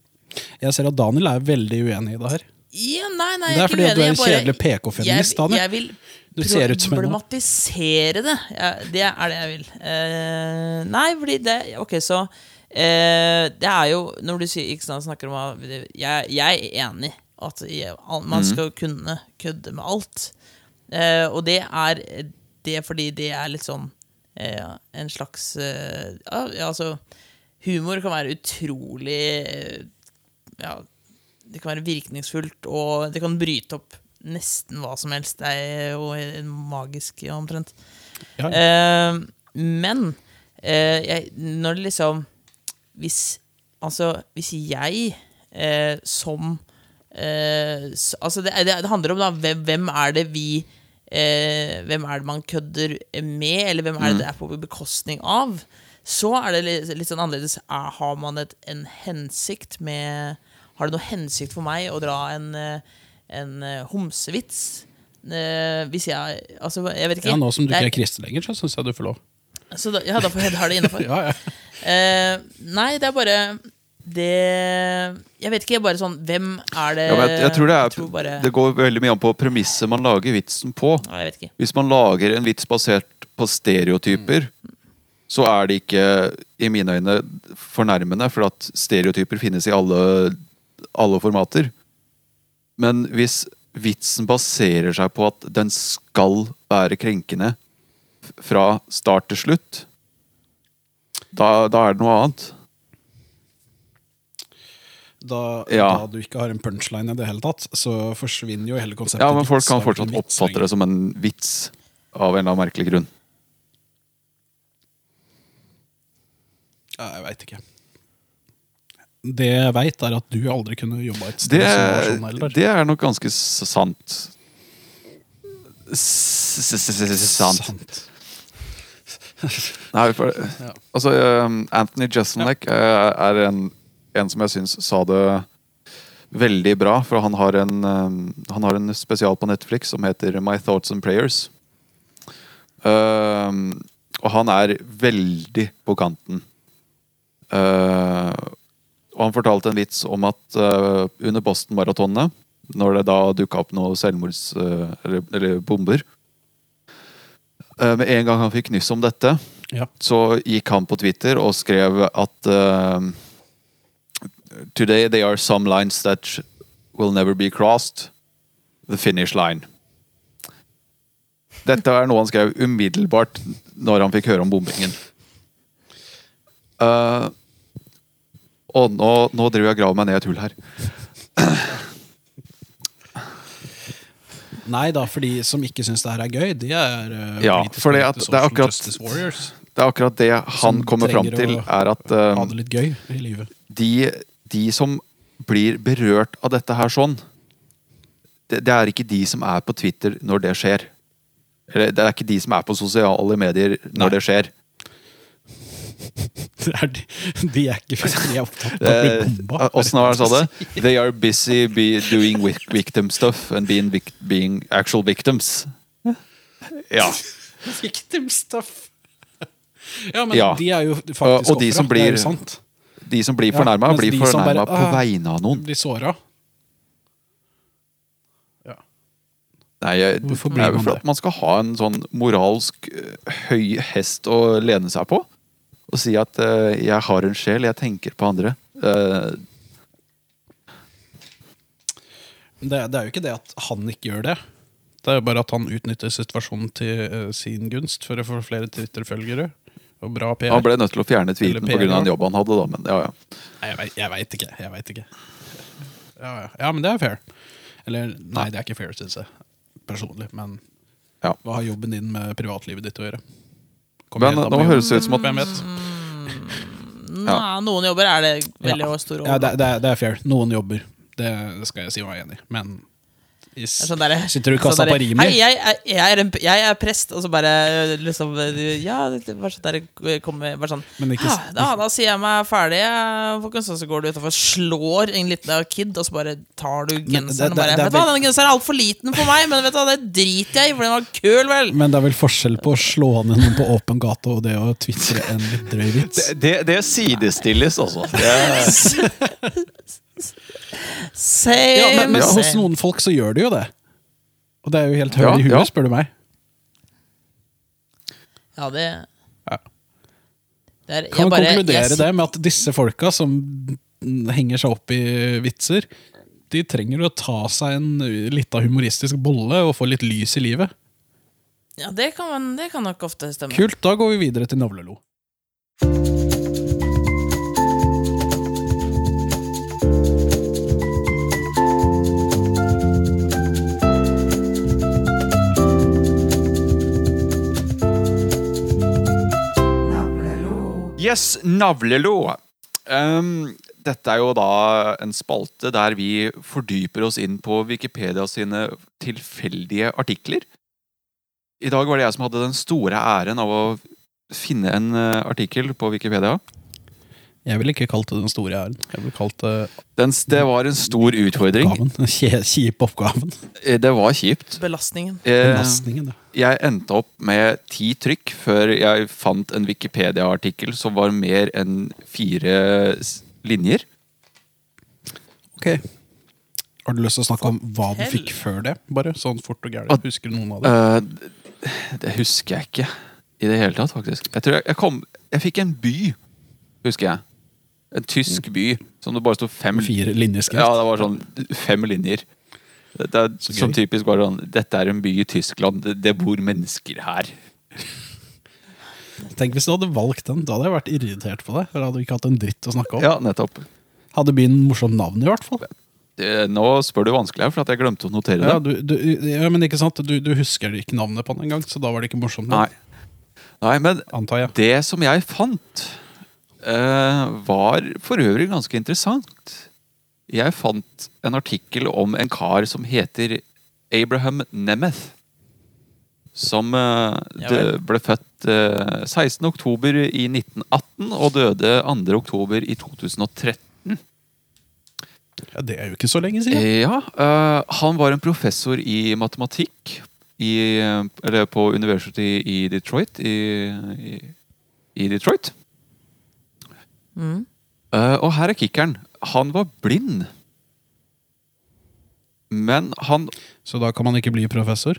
Jeg ser at Daniel er veldig uenig i det her. Ja, nei, nei, Det jeg er fordi ikke at du er en uenig, jeg kjedelig PK-feminist, jeg, Daniel. jeg vil Du ser ut som en nå. problematisere det. Jeg, det er det jeg vil. Eh, nei, fordi det Ok, så eh, Det er jo Når du sier, ikke sant, snakker om at- jeg, jeg er enig at jeg, al- man Mhm. skal kunne kødde med alt. Eh, og det er det er fordi det er litt sånn eh, en slags eh, ja, ja, altså Humor kan være utrolig eh, ja, det kan være virkningsfullt, og det kan bryte opp nesten hva som helst. Det er jo magisk, ja, omtrent. Ja. Eh, men eh, jeg, når det liksom Hvis, altså, hvis jeg eh, som eh, s- altså det, det, det handler om da, hvem, hvem er det vi eh, Hvem er det man kødder med, eller hvem Mm. er det det er på bekostning av? Så er det litt, litt sånn annerledes. Er, har man et, en hensikt med Har det noe hensikt for meg å dra en, eh, en eh, homsevits? Eh, hvis jeg Altså, jeg vet ikke. Ja, Nå som du Det er- ikke er kristen lenger, så syns jeg du får lov. så da, ja, da får jeg ha det innafor. Ja, ja. nei, det er bare Det Jeg vet ikke, bare sånn Hvem er det Ja, men jeg, jeg tror det, er, bare, det går veldig mye an på premisset man lager vitsen på. Nei, jeg vet ikke. Hvis man lager en vits basert på stereotyper, så er det ikke i mine øyne fornærmende, for at stereotyper finnes i alle, alle formater. Men hvis vitsen baserer seg på at den skal være krenkende f- fra start til slutt, da, da er det noe annet. Da, Ja. da du ikke har en punchline i det hele tatt, så forsvinner jo hele konseptet. Ja, men folk kan vits, da blir fortsatt det vits oppfatte det som en vits av en eller annen merkelig grunn. lenger. Ja, jeg veit ikke. Det jeg veit, er at du aldri kunne jobba et sted Det, som var sånn. Eldar. det er nok ganske s- sant. S- s- s- s- Sant. Sant. Nei, for, Ja. altså, eh, Anthony Jeselnik eh, er en, en som jeg syns sa det veldig bra. For han har, en, eh, han har en spesial på Netflix som heter My Thoughts and Prayers. Eh, og han er veldig på kanten. Eh, og han fortalte en vits om at eh, under Boston-maratonet, når det da dukka opp noen selvmords... eh, eller, eller bomber eh, Med en gang han fikk nyss om dette, Ja. så gikk han på Twitter og skrev at ehm, Today they are some lines that sh- will never be crossed. The finish line. Dette er noe han skrev umiddelbart når han fikk høre om bombingen. Eh, og nå, nå driver jeg og graver meg ned i et hull her. Nei da, for de som ikke syns det her er gøy, de er uh, Ja, fordi at det er akkurat- justice warriors. Det er akkurat det han Som kommer fram trenger til, å er at ehm, Ha det litt gøy i livet. de, de som blir berørt av dette her sånn, det, det er ikke de som er på Twitter når det skjer. Eller det er ikke de som er på sosiale medier når det skjer. Det er de, de er ikke de er opptatt av å Eh, bli bomba. Åssen var det han sa det? They are busy be doing vic- victim stuff and being, vic being actual victims. Ja. Victim stuff. Ja, men Ja. de er jo faktisk Og- og de ofra, som det er blir- jo sant. De som blir Ja, fornærma, mens blir de som bare, fornærma på «Ah, vegne av noen. Blir såra. Nei, jeg, Hvorfor det blir er jo man for det? at man skal ha en sånn moralsk øh, høy hest å lene seg på. Og si at øh, 'jeg har en sjel, jeg tenker på andre'. Eh, Det, det er jo ikke det at han ikke gjør det. Det er jo bare at han utnytter situasjonen til eh, sin gunst for å få flere Twitter-følgere og bra PR. han ble nødt til å fjerne tweeten Eller pga. PR. den jobben han hadde. da, men ja, ja. Nei, jeg, vet, jeg vet ikke. Jeg vet ikke. Ja, ja. ja, men det er fair. Eller nei, det er ikke fair, syns jeg. Personlig. Men Ja. hva har jobben din med privatlivet ditt å gjøre? Kom Men igjen da, nå på jobben. høres det ut som at Hvem vet? Nei, noen jobber er det veldig Ja. stor Ja, det, er- det, er- det er fair. Noen jobber. Det skal jeg si meg enig i. Men is, Sånn derre- sitter du og sånn kaster derre, på rimer? Hei, jeg, er- jeg, er en, jeg er prest, og så bare liksom Ja, det det var sånn der kommer, bare sånn Men ikke- «Ah, da, da sier jeg meg ferdig, jeg, folkens, og så går du utafor, slår en liten kid, og så bare tar du Men det- det- genseren og bare det er Vet du hva, vel- den genseren er altfor liten for meg, men vet du hva, det driter jeg i, for den var kul, vel. Men det er vel forskjell på å slå ned noen på åpen gate og det å tvitre en litt drøy vits. Det, sidestilles, altså. Same, Ja, men, men same. hos noen folk så gjør det jo det. Og det er jo helt høl Ja, i huet, ja. spør du meg. Ja, det, Ja. det er, Kan jeg man bare- konkludere jeg- det med at disse folka som henger seg opp i vitser, de trenger å ta seg en lita humoristisk bolle og få litt lys i livet? Ja, det kan, man, det kan nok ofte stemme. Kult, da går vi videre til Navlelo. Yes, navlelo. Ehm, Dette er jo da en spalte der vi fordyper oss inn på Wikipedia sine tilfeldige artikler. I dag var det jeg som hadde den store æren av å finne en eh, artikkel på Wikipedia. Jeg ville ikke kalt det den store æren. Jeg ville kalt det Den, s- det var en stor utfordring. gaven. Den kje- kjipe oppgaven. Eh, Det var kjipt. Belastningen. Eh, Belastningen, da. Jeg endte opp med ti trykk før jeg fant en Wikipedia-artikkel som var mer enn fire s- linjer. Ok. Har du lyst til å snakke om hva du Fortell. fikk før det? Bare sånn fort og Ah. gærent. Husker du noen av det? Eh, det husker jeg ikke i det hele tatt, faktisk. Jeg tror jeg, jeg kom Jeg fikk en by, husker jeg. En tysk by som det bare sto fem Fire linjer Ja, skrift. det var sånn fem linjer. Det, det, er Så gøy. som typisk bare sånn Dette er en by i Tyskland. Det, det bor mennesker her. Tenk hvis du hadde valgt den. Da hadde jeg vært irritert på deg. Da hadde vi ikke hatt en dritt å snakke om. Ja, nettopp. Hadde byen morsomt navn, i hvert fall. Det, nå spør du vanskelig her, for at jeg glemte å notere det. Ja, du, du, ja, men ikke sant? Du, du husker ikke navnet på den engang, så da var det ikke morsomt. Nei. Nei, men Antar jeg. Det som jeg fant, eh, var for øvrig ganske interessant. Jeg fant en artikkel om en kar som heter Abraham Nemeth. Som eh, Ja dø- ble født eh, 16. oktober i 1918 og døde 2. oktober i 2013. Ja, det er jo ikke så lenge siden. Ja, eh, Han var en professor i matematikk i, eh, eller på University i Detroit. I, i, i Detroit. Mm. Eh, og her er kickeren. Han var blind. Men han, Så da kan man ikke bli professor.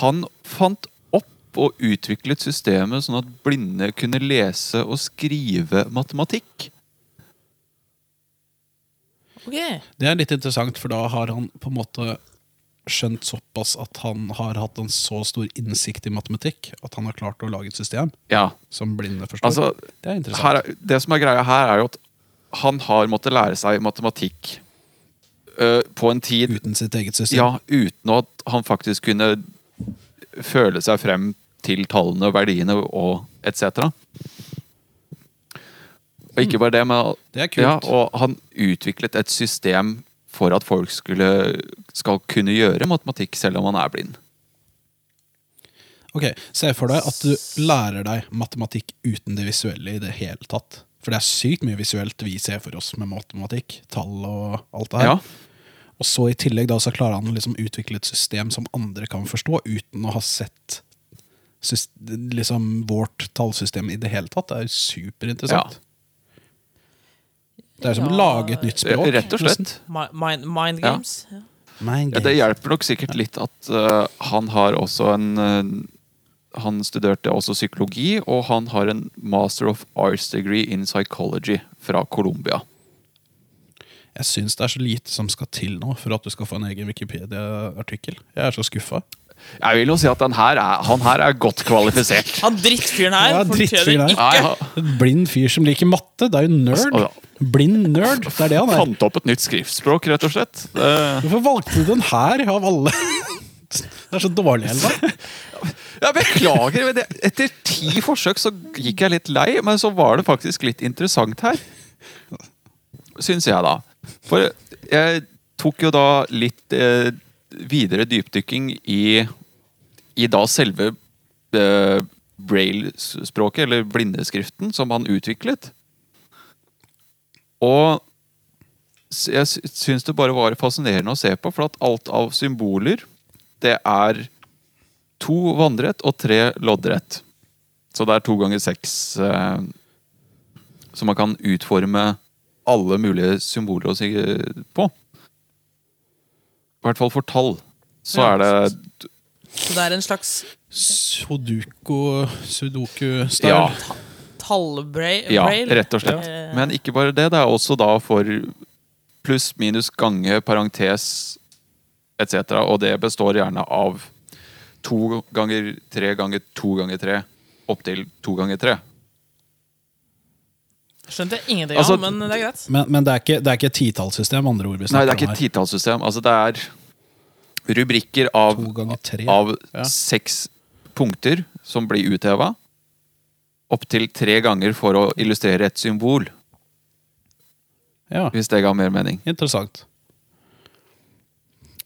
han fant opp og utviklet systemet sånn at blinde kunne lese og skrive matematikk. Ok. Det er litt interessant, for da har han på en måte skjønt såpass at han har hatt en så stor innsikt i matematikk at han har klart å lage et system Ja, som blinde forstår. altså det er interessant. her, er- Det som er greia her, er jo at han har måttet lære seg matematikk eh, på en tid Uten sitt eget system. Ja, uten at han faktisk kunne føle seg frem til tallene og verdiene og etc. Og ikke bare det, men Mm. Det er kult. ja, og han utviklet et system for at folk skulle, skal kunne gjøre matematikk selv om man er blind. Ok, Se for deg at du lærer deg matematikk uten det visuelle i det hele tatt. For det er sykt mye visuelt vi ser for oss med matematikk. Tall og alt det her. Ja, Og så i tillegg da så klarer han å liksom utvikle et system som andre kan forstå, uten å ha sett sys- liksom vårt tallsystem i det hele tatt. Det er jo superinteressant. Det er som å Ja. lage et nytt språk. Rett og slett. Mi- Mind, mind games. Ja. Nei, Ja, det hjelper nok sikkert litt at eh, han har også en eh, Han studerte også psykologi, og han har en master of arts degree in psychology fra Colombia. Jeg syns det er så lite som skal til nå for at du skal få en egen Wikipedia-artikkel. Jeg er så skuffa. Jeg vil jo si at den her er, han her er godt kvalifisert. Han drittfyren her Ja, fortjener drittfyren her. ikke Nei, han En blind fyr som liker matte. Det er jo nerd. Altså, Blind nerd. Det er det han er. fant opp et nytt skriftspråk, rett og slett. Eh, Hvorfor valgte du den her, av alle? Det er så dårlig, Elva. Jeg beklager, men det, etter ti forsøk så gikk jeg litt lei, men så var det faktisk litt interessant her. Syns jeg, da. For jeg tok jo da litt eh, videre dypdykking i, i da selve eh, braille-språket, eller blindeskriften, som han utviklet. Og s- jeg sy- syns det bare var fascinerende å se på, for at alt av symboler, det er to vannrett og tre loddrett. Så det er to ganger seks. Eh, så man kan utforme alle mulige symboler å si eh, på. I hvert fall for tall. Så Ja. er det Så det er en slags Sudoku Sudoku-style. Ja, tallbrail? ja rett og slett. Eh, Men ikke bare det. Det er også da for pluss, minus, gange, parentes etc. Og det består gjerne av to ganger tre ganger to ganger tre opptil to ganger tre. Skjønte jeg ingenting Altså, av, men det er greit. Men, men det, er ikke, det er ikke et titallssystem, andre ord. vi Nei, det snakker er ikke om et her. titallssystem. Altså, det er rubrikker av, To ganger tre. av Ja. seks punkter som blir utheva. Opptil tre ganger for å illustrere et symbol. Ja, Hvis det ga mer mening. interessant.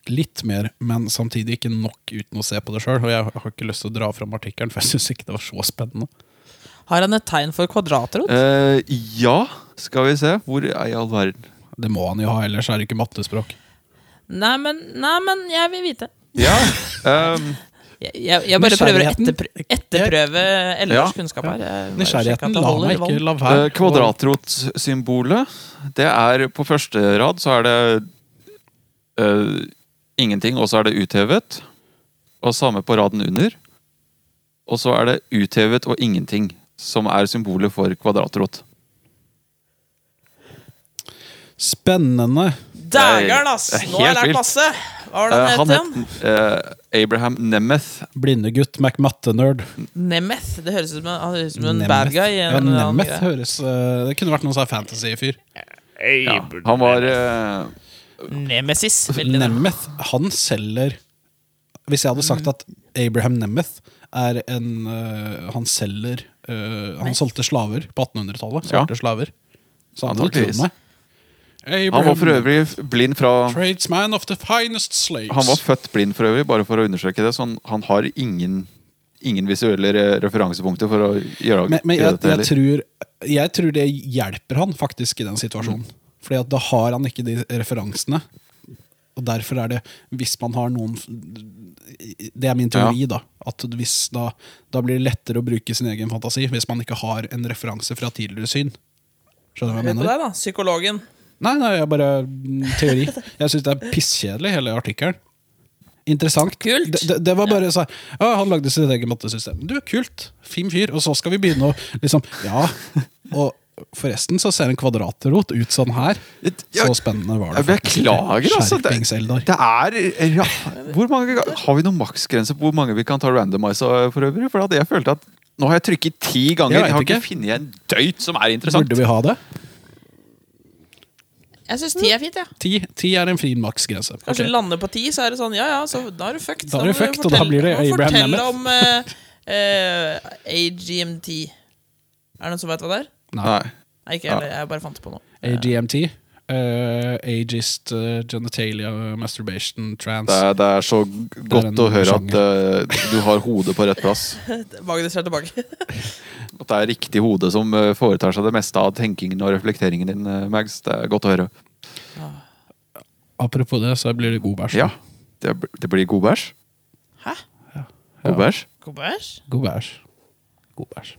Litt mer, men samtidig ikke nok uten å se på det sjøl. Og jeg har ikke lyst til å dra fram artikkelen, for jeg syns ikke det var så spennende. Har han et tegn for kvadratrot? Eh, ja, skal vi se. Hvor er i all verden Det må han jo ha, ellers er det ikke mattespråk. Nei, men, nei, men jeg vil vite. Ja. ehm, Jeg, jeg, jeg bare prøver å Nysgjerrigheten- etterpr- etterprøve Ellers Ja. kunnskap her. Jeg må sjekke at Nysgjerrigheten det lar holder meg ikke vann. la være. eh, Kvadratrotsymbolet, det er på første rad så er det eh, ingenting, og så er det uthevet. Og samme på raden under. Og så er det uthevet og ingenting, som er symbolet for kvadratrot. Spennende. Dægeren, ass! Det er Nå har jeg helt vilt. lært masse! Hva var det Eh, han han het igjen? het eh, Abraham Nemeth. Blindegutt McMatte-nerd. Nemeth. Det høres ut som en, han høres ut som en Nemeth. bad guy. i en Ja, eller annen Nemeth greie. høres eh, Det kunne vært noen sånn fantasy-fyr. Ja, han var eh, Nemesis. Veldig nærme. Nemeth, han selger Hvis jeg hadde sagt at Abraham Nemeth er en eh, Han selger eh, Han solgte slaver på 1800-tallet. Ja. Svarte slaver. Så han hadde Antageligvis. trodd meg. Han var for Abraham, øvrig blind fra Tradesman of the finest slaves. Han var født blind for øvrig, bare for å understreke det. Så han, han har ingen, ingen visuelle re- referansepunkter for å gjøre Men, men gjøre jeg, jeg, dette heller. tror, jeg tror det hjelper han faktisk i den situasjonen. Fordi at da har han ikke de referansene. Og derfor er det, hvis man har noen Det er min teori, da. At hvis da, da blir det lettere å bruke sin egen fantasi hvis man ikke har en referanse fra tidligere syn. Skjønner du hva jeg Hør på mener? deg, da. Psykologen. Nei, nei, jeg bare mm, teori. Jeg syns det er pisskjedelig, hele artikkelen. Interessant. Kult. Det, det, det var bare sånn ja, Han lagde sitt eget mattesystem. Du, kult. Fin fyr. Og så skal vi begynne å liksom Ja. Og forresten så ser en kvadratrot ut sånn her. Ja, Så spennende var det. Jeg faktisk ikke. beklager, altså. Det, Skjerpings, Eldar. det er ja, hvor mange, ga- Har vi noen maksgrense på hvor mange vi kan ta randomize eh, for øvrig? For at jeg følte at nå har jeg trykket ti ganger. Jeg vet Jeg har ikke ikke. funnet en døyt som er interessant. Burde vi ha det? Jeg syns ti er fint, jeg. Ja. Ti, ti er en fin maksgrense. Kanskje Ok. lande på ti, så er det sånn Ja ja, så da er du fucked. Da er du må fucked, og da fortelle- blir det må du Abraham fortelle Nemeth. om eh, eh, AGMT. Er det noen som vet hva det er? Nei. Nei, ikke heller. Jeg bare fant det på nå. AGMT. eh, ageist eh, genitalia masturbation trans. Det er, det er så Det er en godt å høre at eh, du har hodet på rett plass. Eh, Magnus er tilbake. At det er riktig hode som eh, foretar seg det meste av tenkingen og reflekteringen din, eh, Mags. Det er godt å høre. Apropos det, så blir det god bæsj. Ja, det, bl- det blir god bæsj. Hæ? God bæsj. Kobbers? God bæsj. God bæsj.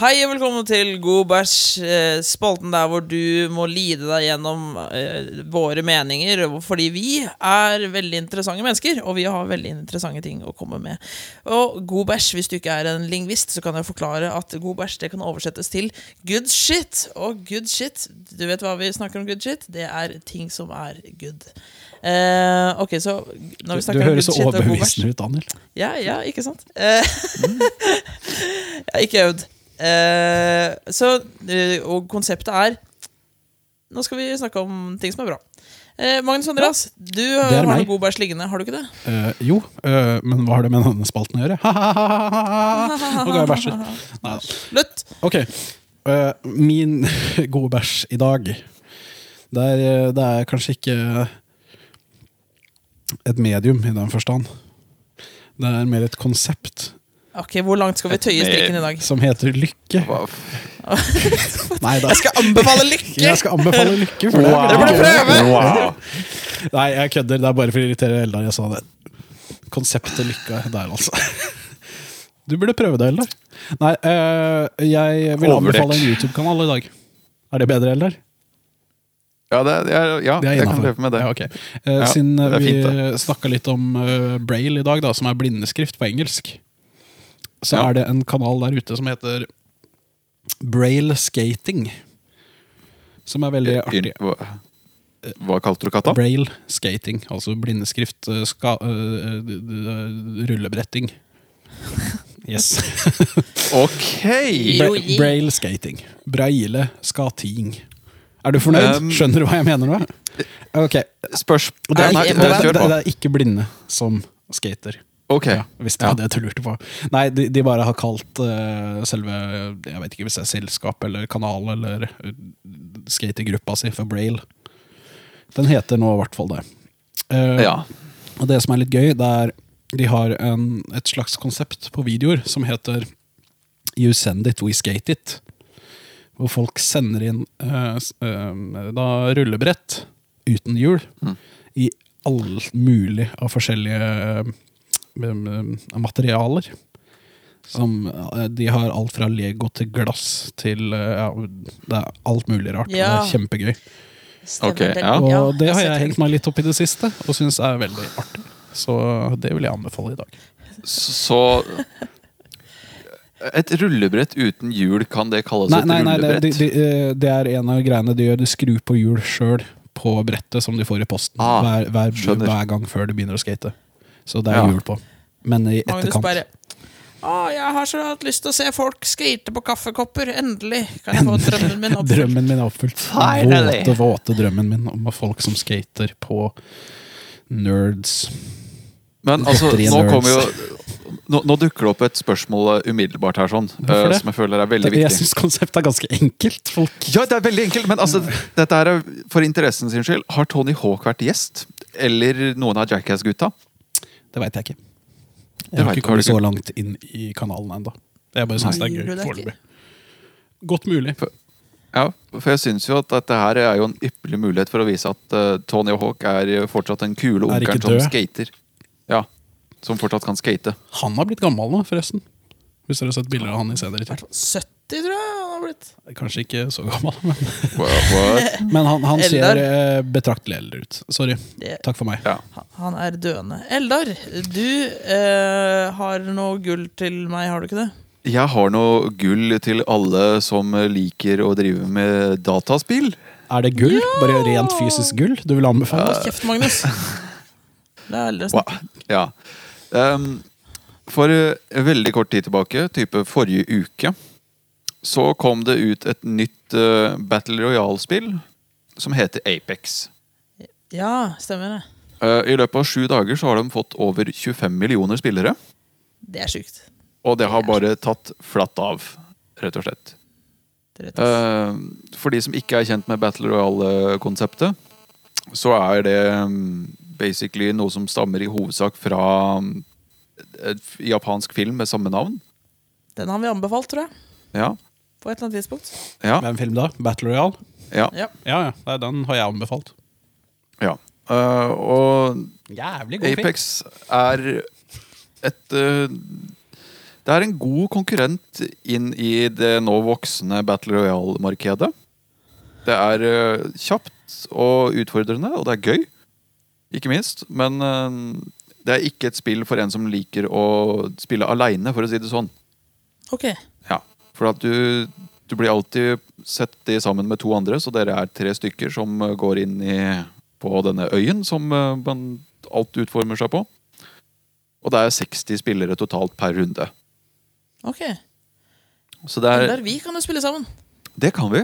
Hei og velkommen til God bæsj, eh, spalten der hvor du må lide deg gjennom eh, våre meninger, fordi vi er veldig interessante mennesker, og vi har veldig interessante ting å komme med. Og god bæsj, hvis du ikke er en lingvist, så kan jeg forklare at god bæsj det kan oversettes til good shit. Og good shit, du vet hva vi snakker om good shit? Det er ting som er good. Eh, ok, så Du, når vi du snakker om høres good så shit og god bæsj overbevisende ut, Daniel. Ja, ja, ikke sant? Eh, jeg har ikke øvd. Eh, så, eh, og konseptet er Nå skal vi snakke om ting som er bra. Eh, Magnus Andreas, du Det har er noe meg. god bæsj liggende, har du ikke det? Eh, jo, eh, men hva har det med denne spalten å gjøre? Nå ga jeg bæsj ut. Neida. Løtt! Ok, eh, min gode bæsj i dag det er, eh, det er kanskje ikke et medium i den forstand. Det er mer et konsept Ok, Hvor langt skal vi tøye strikken i dag? som heter lykke. Hva f- Nei, da. Jeg skal anbefale lykke! Jeg skal anbefale lykke. For det er Dere burde prøve! Wow. Nei, jeg kødder. Det er bare for å irritere Eldar. Jeg sa det. Konseptet lykka der, altså. Du burde prøve det, Eldar. Nei, eh, jeg vil Overvurdert. anbefale en YouTube-kanal i dag. Er det bedre, Eldar? Ja, det, det er, ja, jeg kan innenfor. leve med det. Ja, ok. Eh, Ja, Siden eh, det er fint, vi snakka litt om eh, braille i dag, da, som er blindeskrift på engelsk, så Ja. er det en kanal der ute som heter Braille Skating. Som er veldig artig. Yr- Hva, hva kalte du katta? Braille skating, altså blindeskrift, eh, ska, eh, d- d- rullebretting. Yes. Ok! Jo, Bra gi. braille skating. Braille skating. Er du fornøyd? Um, Skjønner du hva jeg mener nå? Ok. Spørs... eh, Og det, er, Nei, ikke- nei, det, er, kjør det, på. er ikke blinde som skater. Ok. Ja, hvis det var det du lurte på. Nei, de, de bare har kalt eh, selve Jeg vet ikke hvis det er selskap eller kanal eller eh, skatergruppa si for Braille. Den heter nå i hvert fall det. Eh, Ja. Og det som er litt gøy, det er de har en, et slags konsept på videoer som heter You send it, we skate it. Hvor folk sender inn eh, s- eh, da rullebrett uten hjul i all mulig av forskjellige eh, m- m- materialer. Som, eh, de har alt fra Lego til glass til eh, ja, Det er alt mulig rart. og Ja. Det er kjempegøy. Stemmer Ok, det. ja. Og det har ser jeg til. hengt meg litt opp i det siste, og syns er veldig artig. Så det vil jeg anbefale i dag. Så Et rullebrett uten hjul, kan det kalles Nei, et nei, nei det, rullebrett? de, de, eh, det er en av greiene de gjør. Du skrur på hjul sjøl på brettet som de får i posten Ah, hver, hver, skjønner. hver gang før de begynner å skate. Så det er Ja. hjul på. Men i Magnus etterkant bare Å, jeg har så hatt lyst til å se folk skate på kaffekopper. Endelig kan jeg få drømmen min oppfylt. Drømmen min er oppfylt. Den Finally. Våte, våte drømmen min om folk som skater på nerds. Men altså, Godteri nå nerds. kommer jo nå, nå dukker det opp et spørsmål eh, umiddelbart her, sånn, eh, Hvorfor det? som jeg føler er veldig Jeg viktig. syns konseptet er ganske enkelt. Folk Ja, det er veldig enkelt, men altså, dette her er for interessen sin skyld. Har Tony Hawk vært gjest? Eller noen av Jackass-gutta? Det veit jeg ikke. Det Jeg har vet ikke du kommet ikke. så langt inn i kanalen ennå. Jeg bare syns det Nei. er Gjør du gøy det ikke? foreløpig. Godt mulig. Ja, for jeg syns jo at dette her er jo en ypperlig mulighet for å vise at eh, Tony Hawk er jo fortsatt den kule Er ikke onkelen som død. skater. Ja, som fortsatt kan skate. Han har blitt gammel nå, forresten. Hvis dere har sett bilder av han i senere tid. 70, tror jeg han har blitt. Kanskje ikke så gammel, men, What? men han, han Eldar. ser eh, betraktelig eldre ut. Sorry. Det- Takk for meg. Ja. Han- Han er døende. Eldar, du eh, har noe gull til meg, har du ikke det? Jeg har noe gull til alle som liker å drive med dataspill. Er det gull? Bare rent fysisk gull du vil anbefale? Hold kjeft, Magnus. La eldre Wow. snakke. Ja. Ehm, for eh, veldig kort tid tilbake, type forrige uke, så kom det ut et nytt eh, Battle Royale-spill som heter Apex. Ja, stemmer det. Eh, I løpet av sju dager så har de fått over 25 millioner spillere. Det er sjukt. Og det har bare tatt flatt av, rett og slett. Det er rett og slett. Eh, For de som ikke er kjent med Battle Royale-konseptet, så er det mm, basically noe som stammer i hovedsak fra mm, et f- japansk film med samme navn. Den har vi anbefalt, tror jeg. Ja, På et eller annet tidspunkt. ja, Hvem film da? Battle Royale? ja. Ja. Ja, ja. Nei, Den har jeg anbefalt. ja. Eh, og Jævlig god film. Apex er et eh, Det er en god konkurrent inn i det nå voksende Battle Royale-markedet. Det er eh, kjapt og utfordrende, og det er gøy, ikke minst. Men eh, det er ikke et spill for en som liker å spille aleine, for å si det sånn. Ok. Ja, for at du, du blir alltid sett i sammen med to andre, så dere er tre stykker som eh, går inn i, på denne øyen som eh, man, alt utformer seg på. Og det er 60 spillere totalt per runde. ok. Så det Eldar, er vi kan jo spille sammen. Det kan vi.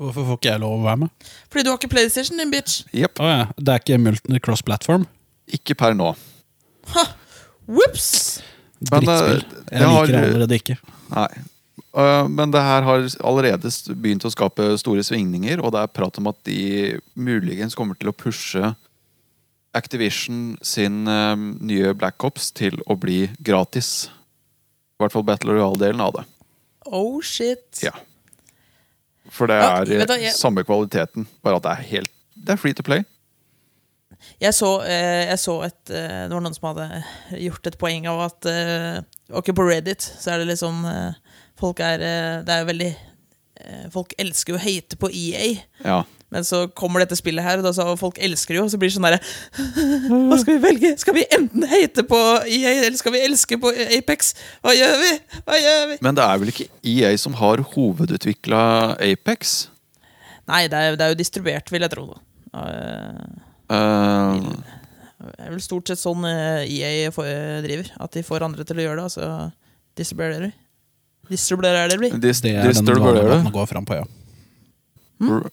Hvorfor får ikke jeg lov å være med? Fordi du har ikke PlayStation, din bitch. Jepp. Å ja. Det er ikke multi cross-platform? Ikke per nå. Whoops! Men, eh, Drittspill. jeg Jeg har- liker det allerede ikke. Nei. Eh, Men det her har allerede s- begynt å skape store svingninger, og det er prat om at de muligens kommer til å pushe Activision sin eh, nye Black Ops til å bli gratis. I hvert fall Battle Royale-delen av det. Oh shit. Ja. For det Ja, er eh, vet du, jeg- samme kvaliteten, bare at det er helt Det er free to play. Jeg så, eh, jeg så et eh, Det var noen som hadde gjort et poeng av at eh, Ok, på Reddit så er det liksom eh, Folk er eh, Det er jo veldig eh, Folk elsker jo å hate på EA. Ja. Men så kommer dette spillet her, og da sa folk elsker det jo. Og så blir det sånn derre Hva skal vi velge? Skal vi enten hate på EA, eller skal vi elske på Apex? Hva gjør vi? Hva gjør vi? Men det er vel ikke EA som har hovedutvikla Apex? Nei, det er, det er jo distribuert, vil jeg tro. Da. Eh, Eh, Det er vel stort sett sånn eh, EA får- eh, driver. At de får andre til å gjøre det, og så distribuerer de. Distribuerer det blir. dis- Det er den distribuerer vanlige det. måten å gå fram på, ja.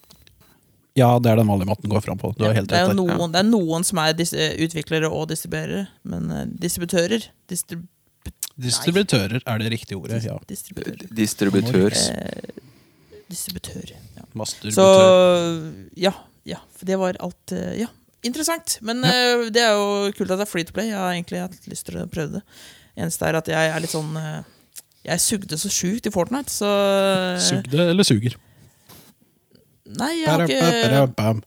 Ja, det er den vanlige måten å gå fram på. Du har helt det, er rett jo der. noen, det er noen som er dis eh, utviklere og distribuerere, men eh, distributører distri Distributører er det riktige ordet. Ja. Distributør. Distributør. Eh, distributør ja. Så Masturbutør. ja, ja. For det var alt eh, Ja, interessant. Men eh, det er jo kult at det er free to play. Jeg har egentlig hatt lyst til å prøve det. Eneste er at jeg er litt sånn eh, Jeg sugde så sjukt i Fortnite, så eh, Sugde eller suger? Nei, jeg har ikke Ba-da-ba-da-bam.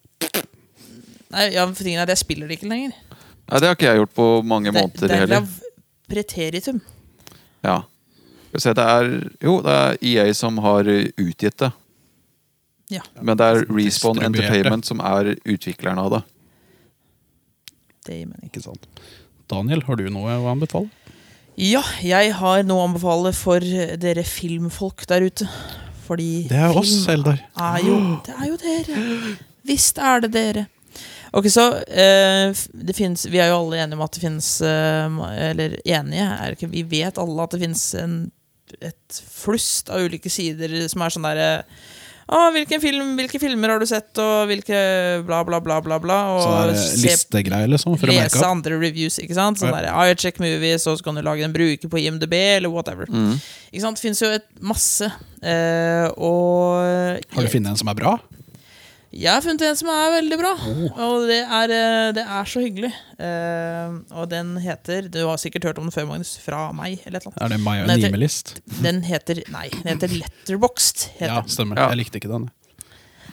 Nei, ja, for tingen er at jeg spiller det ikke lenger. Nei, det har ikke jeg gjort på mange Det- måneder det er heller. lav- Preteritum. Ja. Skal vi se, det er Jo, det er EA som har eh, utgitt det. Ja, Men det er Respawn Distribuert det. Entertainment som er utvikleren av det. det gir mening. Ikke sant. Daniel, har du noe å anbefale? Ja, jeg har noe å anbefale for dere filmfolk der ute. Fordi Det er oss, film Eldar. er Ah, jo, det er jo dere. Visst er det dere. Ok, så eh, f- det finnes, Vi er jo alle enige om at det finnes eh, ma- Eller enige er det ikke, Vi vet alle at det finnes en, et flust av ulike sider som er sånn derre Å, hvilken film, hvilke filmer har du sett, og hvilke bla, bla, bla, bla, bla. Og Så det er se- listegreier, liksom, eh, for å merke lese opp. andre reviews. ikke sant? Sånn Ja. der, I check movies, og så kan du lage en bruker på IMDb, eller whatever. Mm. Ikke sant? Det fins jo et masse. eh, og Har du funnet en som er bra? jeg har funnet en som er veldig bra, og det er, eh, det er så hyggelig. Eh, og den heter Du har sikkert hørt om den før, Magnus. Fra meg, eller et eller annet. Er det Maja Nei, det- Nimelist? Den heter Nei, den heter Letterboxed. Heter Ja, stemmer. Ja. Jeg likte ikke den.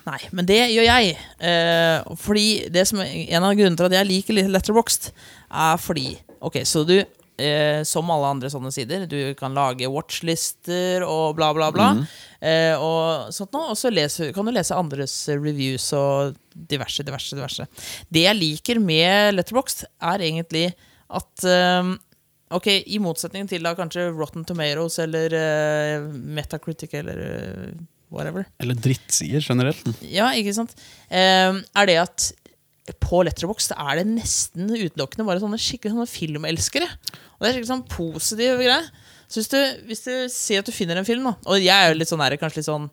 Nei, men det gjør jeg. Eh, fordi det som er En av grunnene til at jeg liker litt Letterboxd, er fordi Ok, så du, eh, som alle andre sånne sider, du kan lage watchlister og bla, bla, bla. Eh, og sånt nå, og så leser, kan du lese andres reviews og diverse, diverse, diverse. Det jeg liker med Letterboxd, er egentlig at eh, Ok, I motsetning til da kanskje Rotten Tomatoes eller eh, Metacritic eller eh, whatever. Eller drittsider generelt. Ja, ikke sant? Ehm, er det at på Letterboxd er det nesten utelukkende bare sånne skikkelig sånne filmelskere. Og det er skikkelig sånn positive greier. Så hvis du, hvis du ser at du finner en film, da Og jeg er jo litt sånn her, kanskje litt sånn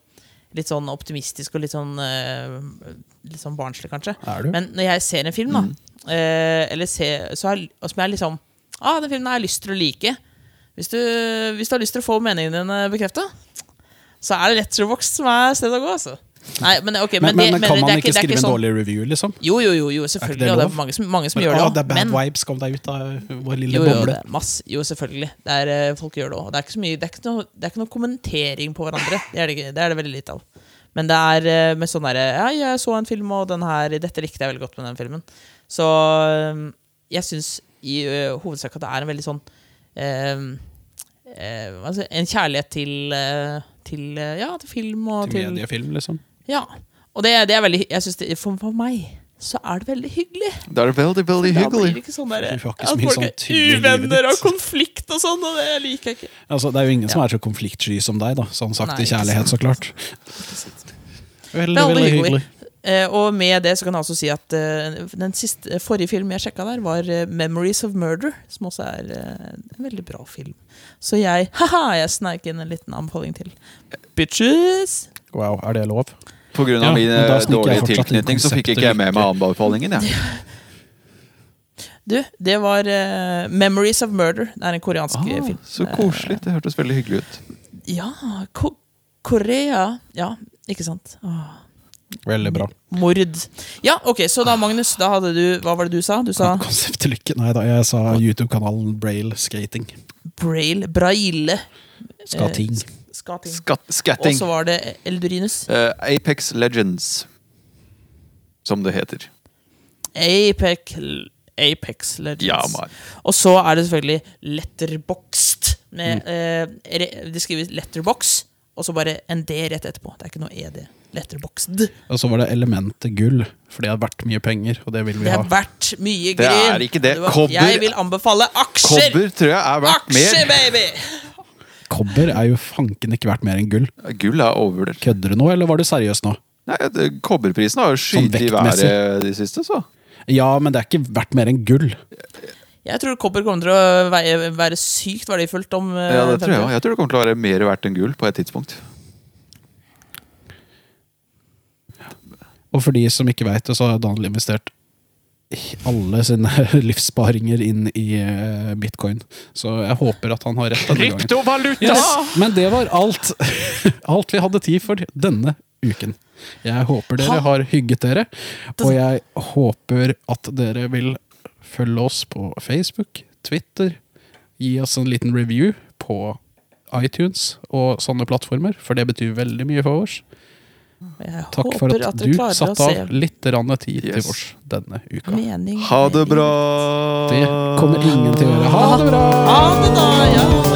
Litt sånn optimistisk og litt sånn eh, Litt sånn barnslig, kanskje. Er du? Men når jeg ser en film, da, Mm. eh, eller ser, så har, og som jeg liksom ah, den filmen har jeg lyst til å like Hvis du, hvis du har lyst til å få meningene dine bekrefta, så er det Letterbox som er stedet å gå, altså. Nei, men, ok, men, Men, men, det, kan det man er ikke det er skrive en sånn- dårlig review, liksom? Jo, jo, jo, jo ikke det selvfølgelig. og det lov? er mange som, mange som Men, gjør det å, også, det er bad men- vibes, kom deg ut av vår lille jo, jo, det boble. er masse, jo, selvfølgelig. Det er, eh, folk gjør det òg. Det er ikke så mye Det er ikke noe, det er ikke noe kommentering på hverandre. Det er det, ikke, det er det veldig lite av. Men det er eh, med sånn derre Ja, jeg så en film, og den her Dette likte jeg veldig godt med den filmen. Så eh, jeg syns i eh, hovedsak at det er en veldig sånn eh, eh, hva skal jeg si, En kjærlighet til, eh, til eh, Ja, til film og Til til, mediefilm, liksom. Ja. Og det, det er veldig Jeg synes det, for, for meg så er det veldig hyggelig. Det er veldig, veldig Da blir det hyggelig. ikke sånn der, Du får ikke at så mye folk sånn er tydelig i livet uvenner og ditt. konflikt og sånn, og det liker jeg ikke. Altså, det er jo ingen som er så konfliktsky som deg, da. Sånn sagt Nei, i kjærlighet, så klart. Veldig, Det er veldig aldri hyggelig. hyggelig. Eh, og med det så kan jeg også si at eh, den siste, forrige filmen jeg sjekka der, var eh, 'Memories of Murder', som også er eh, en veldig bra film. Så jeg haha, jeg sneik inn en liten anbefaling til. Bitches! Wow, er det lov? På grunn Ja, av men min da eh, sniker jeg dårlige fortsatt inn tilknytning så fikk ikke jeg med meg anbefalingen. Jeg. Du, det var eh, 'Memories of Murder'. Det er en koreansk eh, Ah, film. så koselig. Det hørtes veldig hyggelig ut. Ja, ko Korea Ja, ikke sant? Åh. Veldig bra. Mord. Ja, ok, så da Magnus, da hadde du Hva var det du sa? Du sa Konsept til lykke. Nei da, jeg sa YouTube-kanalen Braille Skating. braille, braille Eh, Skating. skating. Skatt, Og skatting. så var det Eldurinus. Eh, Apex Legends, som det heter. Apex, Apex Legends. Ja, man. og så er det selvfølgelig Letterboxed. Med, Mm. eh, re- de skriver Letterbox, og så bare en D rett etterpå. Det er ikke noe E ED. Letterboxed. Og så var det elementet gull, for det er verdt mye penger, og det vil vi Det ha. er verdt mye Det grin. er ikke det. var- Kobber- Jeg vil anbefale aksjer! Kobber tror jeg er verdt Aksjer, mer. baby! Kobber er jo fanken ikke verdt mer enn gull. Gull er overvurdert. Kødder du nå, eller var du seriøs nå? Nei, det- Kobberprisen har jo skyet i vektmessig. været de siste, så. Ja, men det er ikke verdt mer enn gull. Jeg tror kobber kommer til å veie- være sykt verdifullt om eh, Ja, det 50 tror jeg år. også. Jeg tror det kommer til å være mer verdt enn gull på et tidspunkt. Og for de som ikke veit det, så har Daniel investert alle sine livssparinger inn i eh, bitcoin. Så jeg håper at han har rett. denne gangen. Kryptovaluta! Yes. Men det var alt. Alt vi hadde tid for denne uken. Jeg håper dere har hygget dere, og jeg håper at dere vil følge oss på Facebook, Twitter, gi oss en liten review på iTunes og sånne plattformer, for det betyr veldig mye for oss. Jeg Takk håper for at, du klarer å satte se av litt grann tid Yes. til oss denne uka. mening Ha det med bra! Det kommer ingen til å gjøre. Ha det bra! Ha det, da! Ja.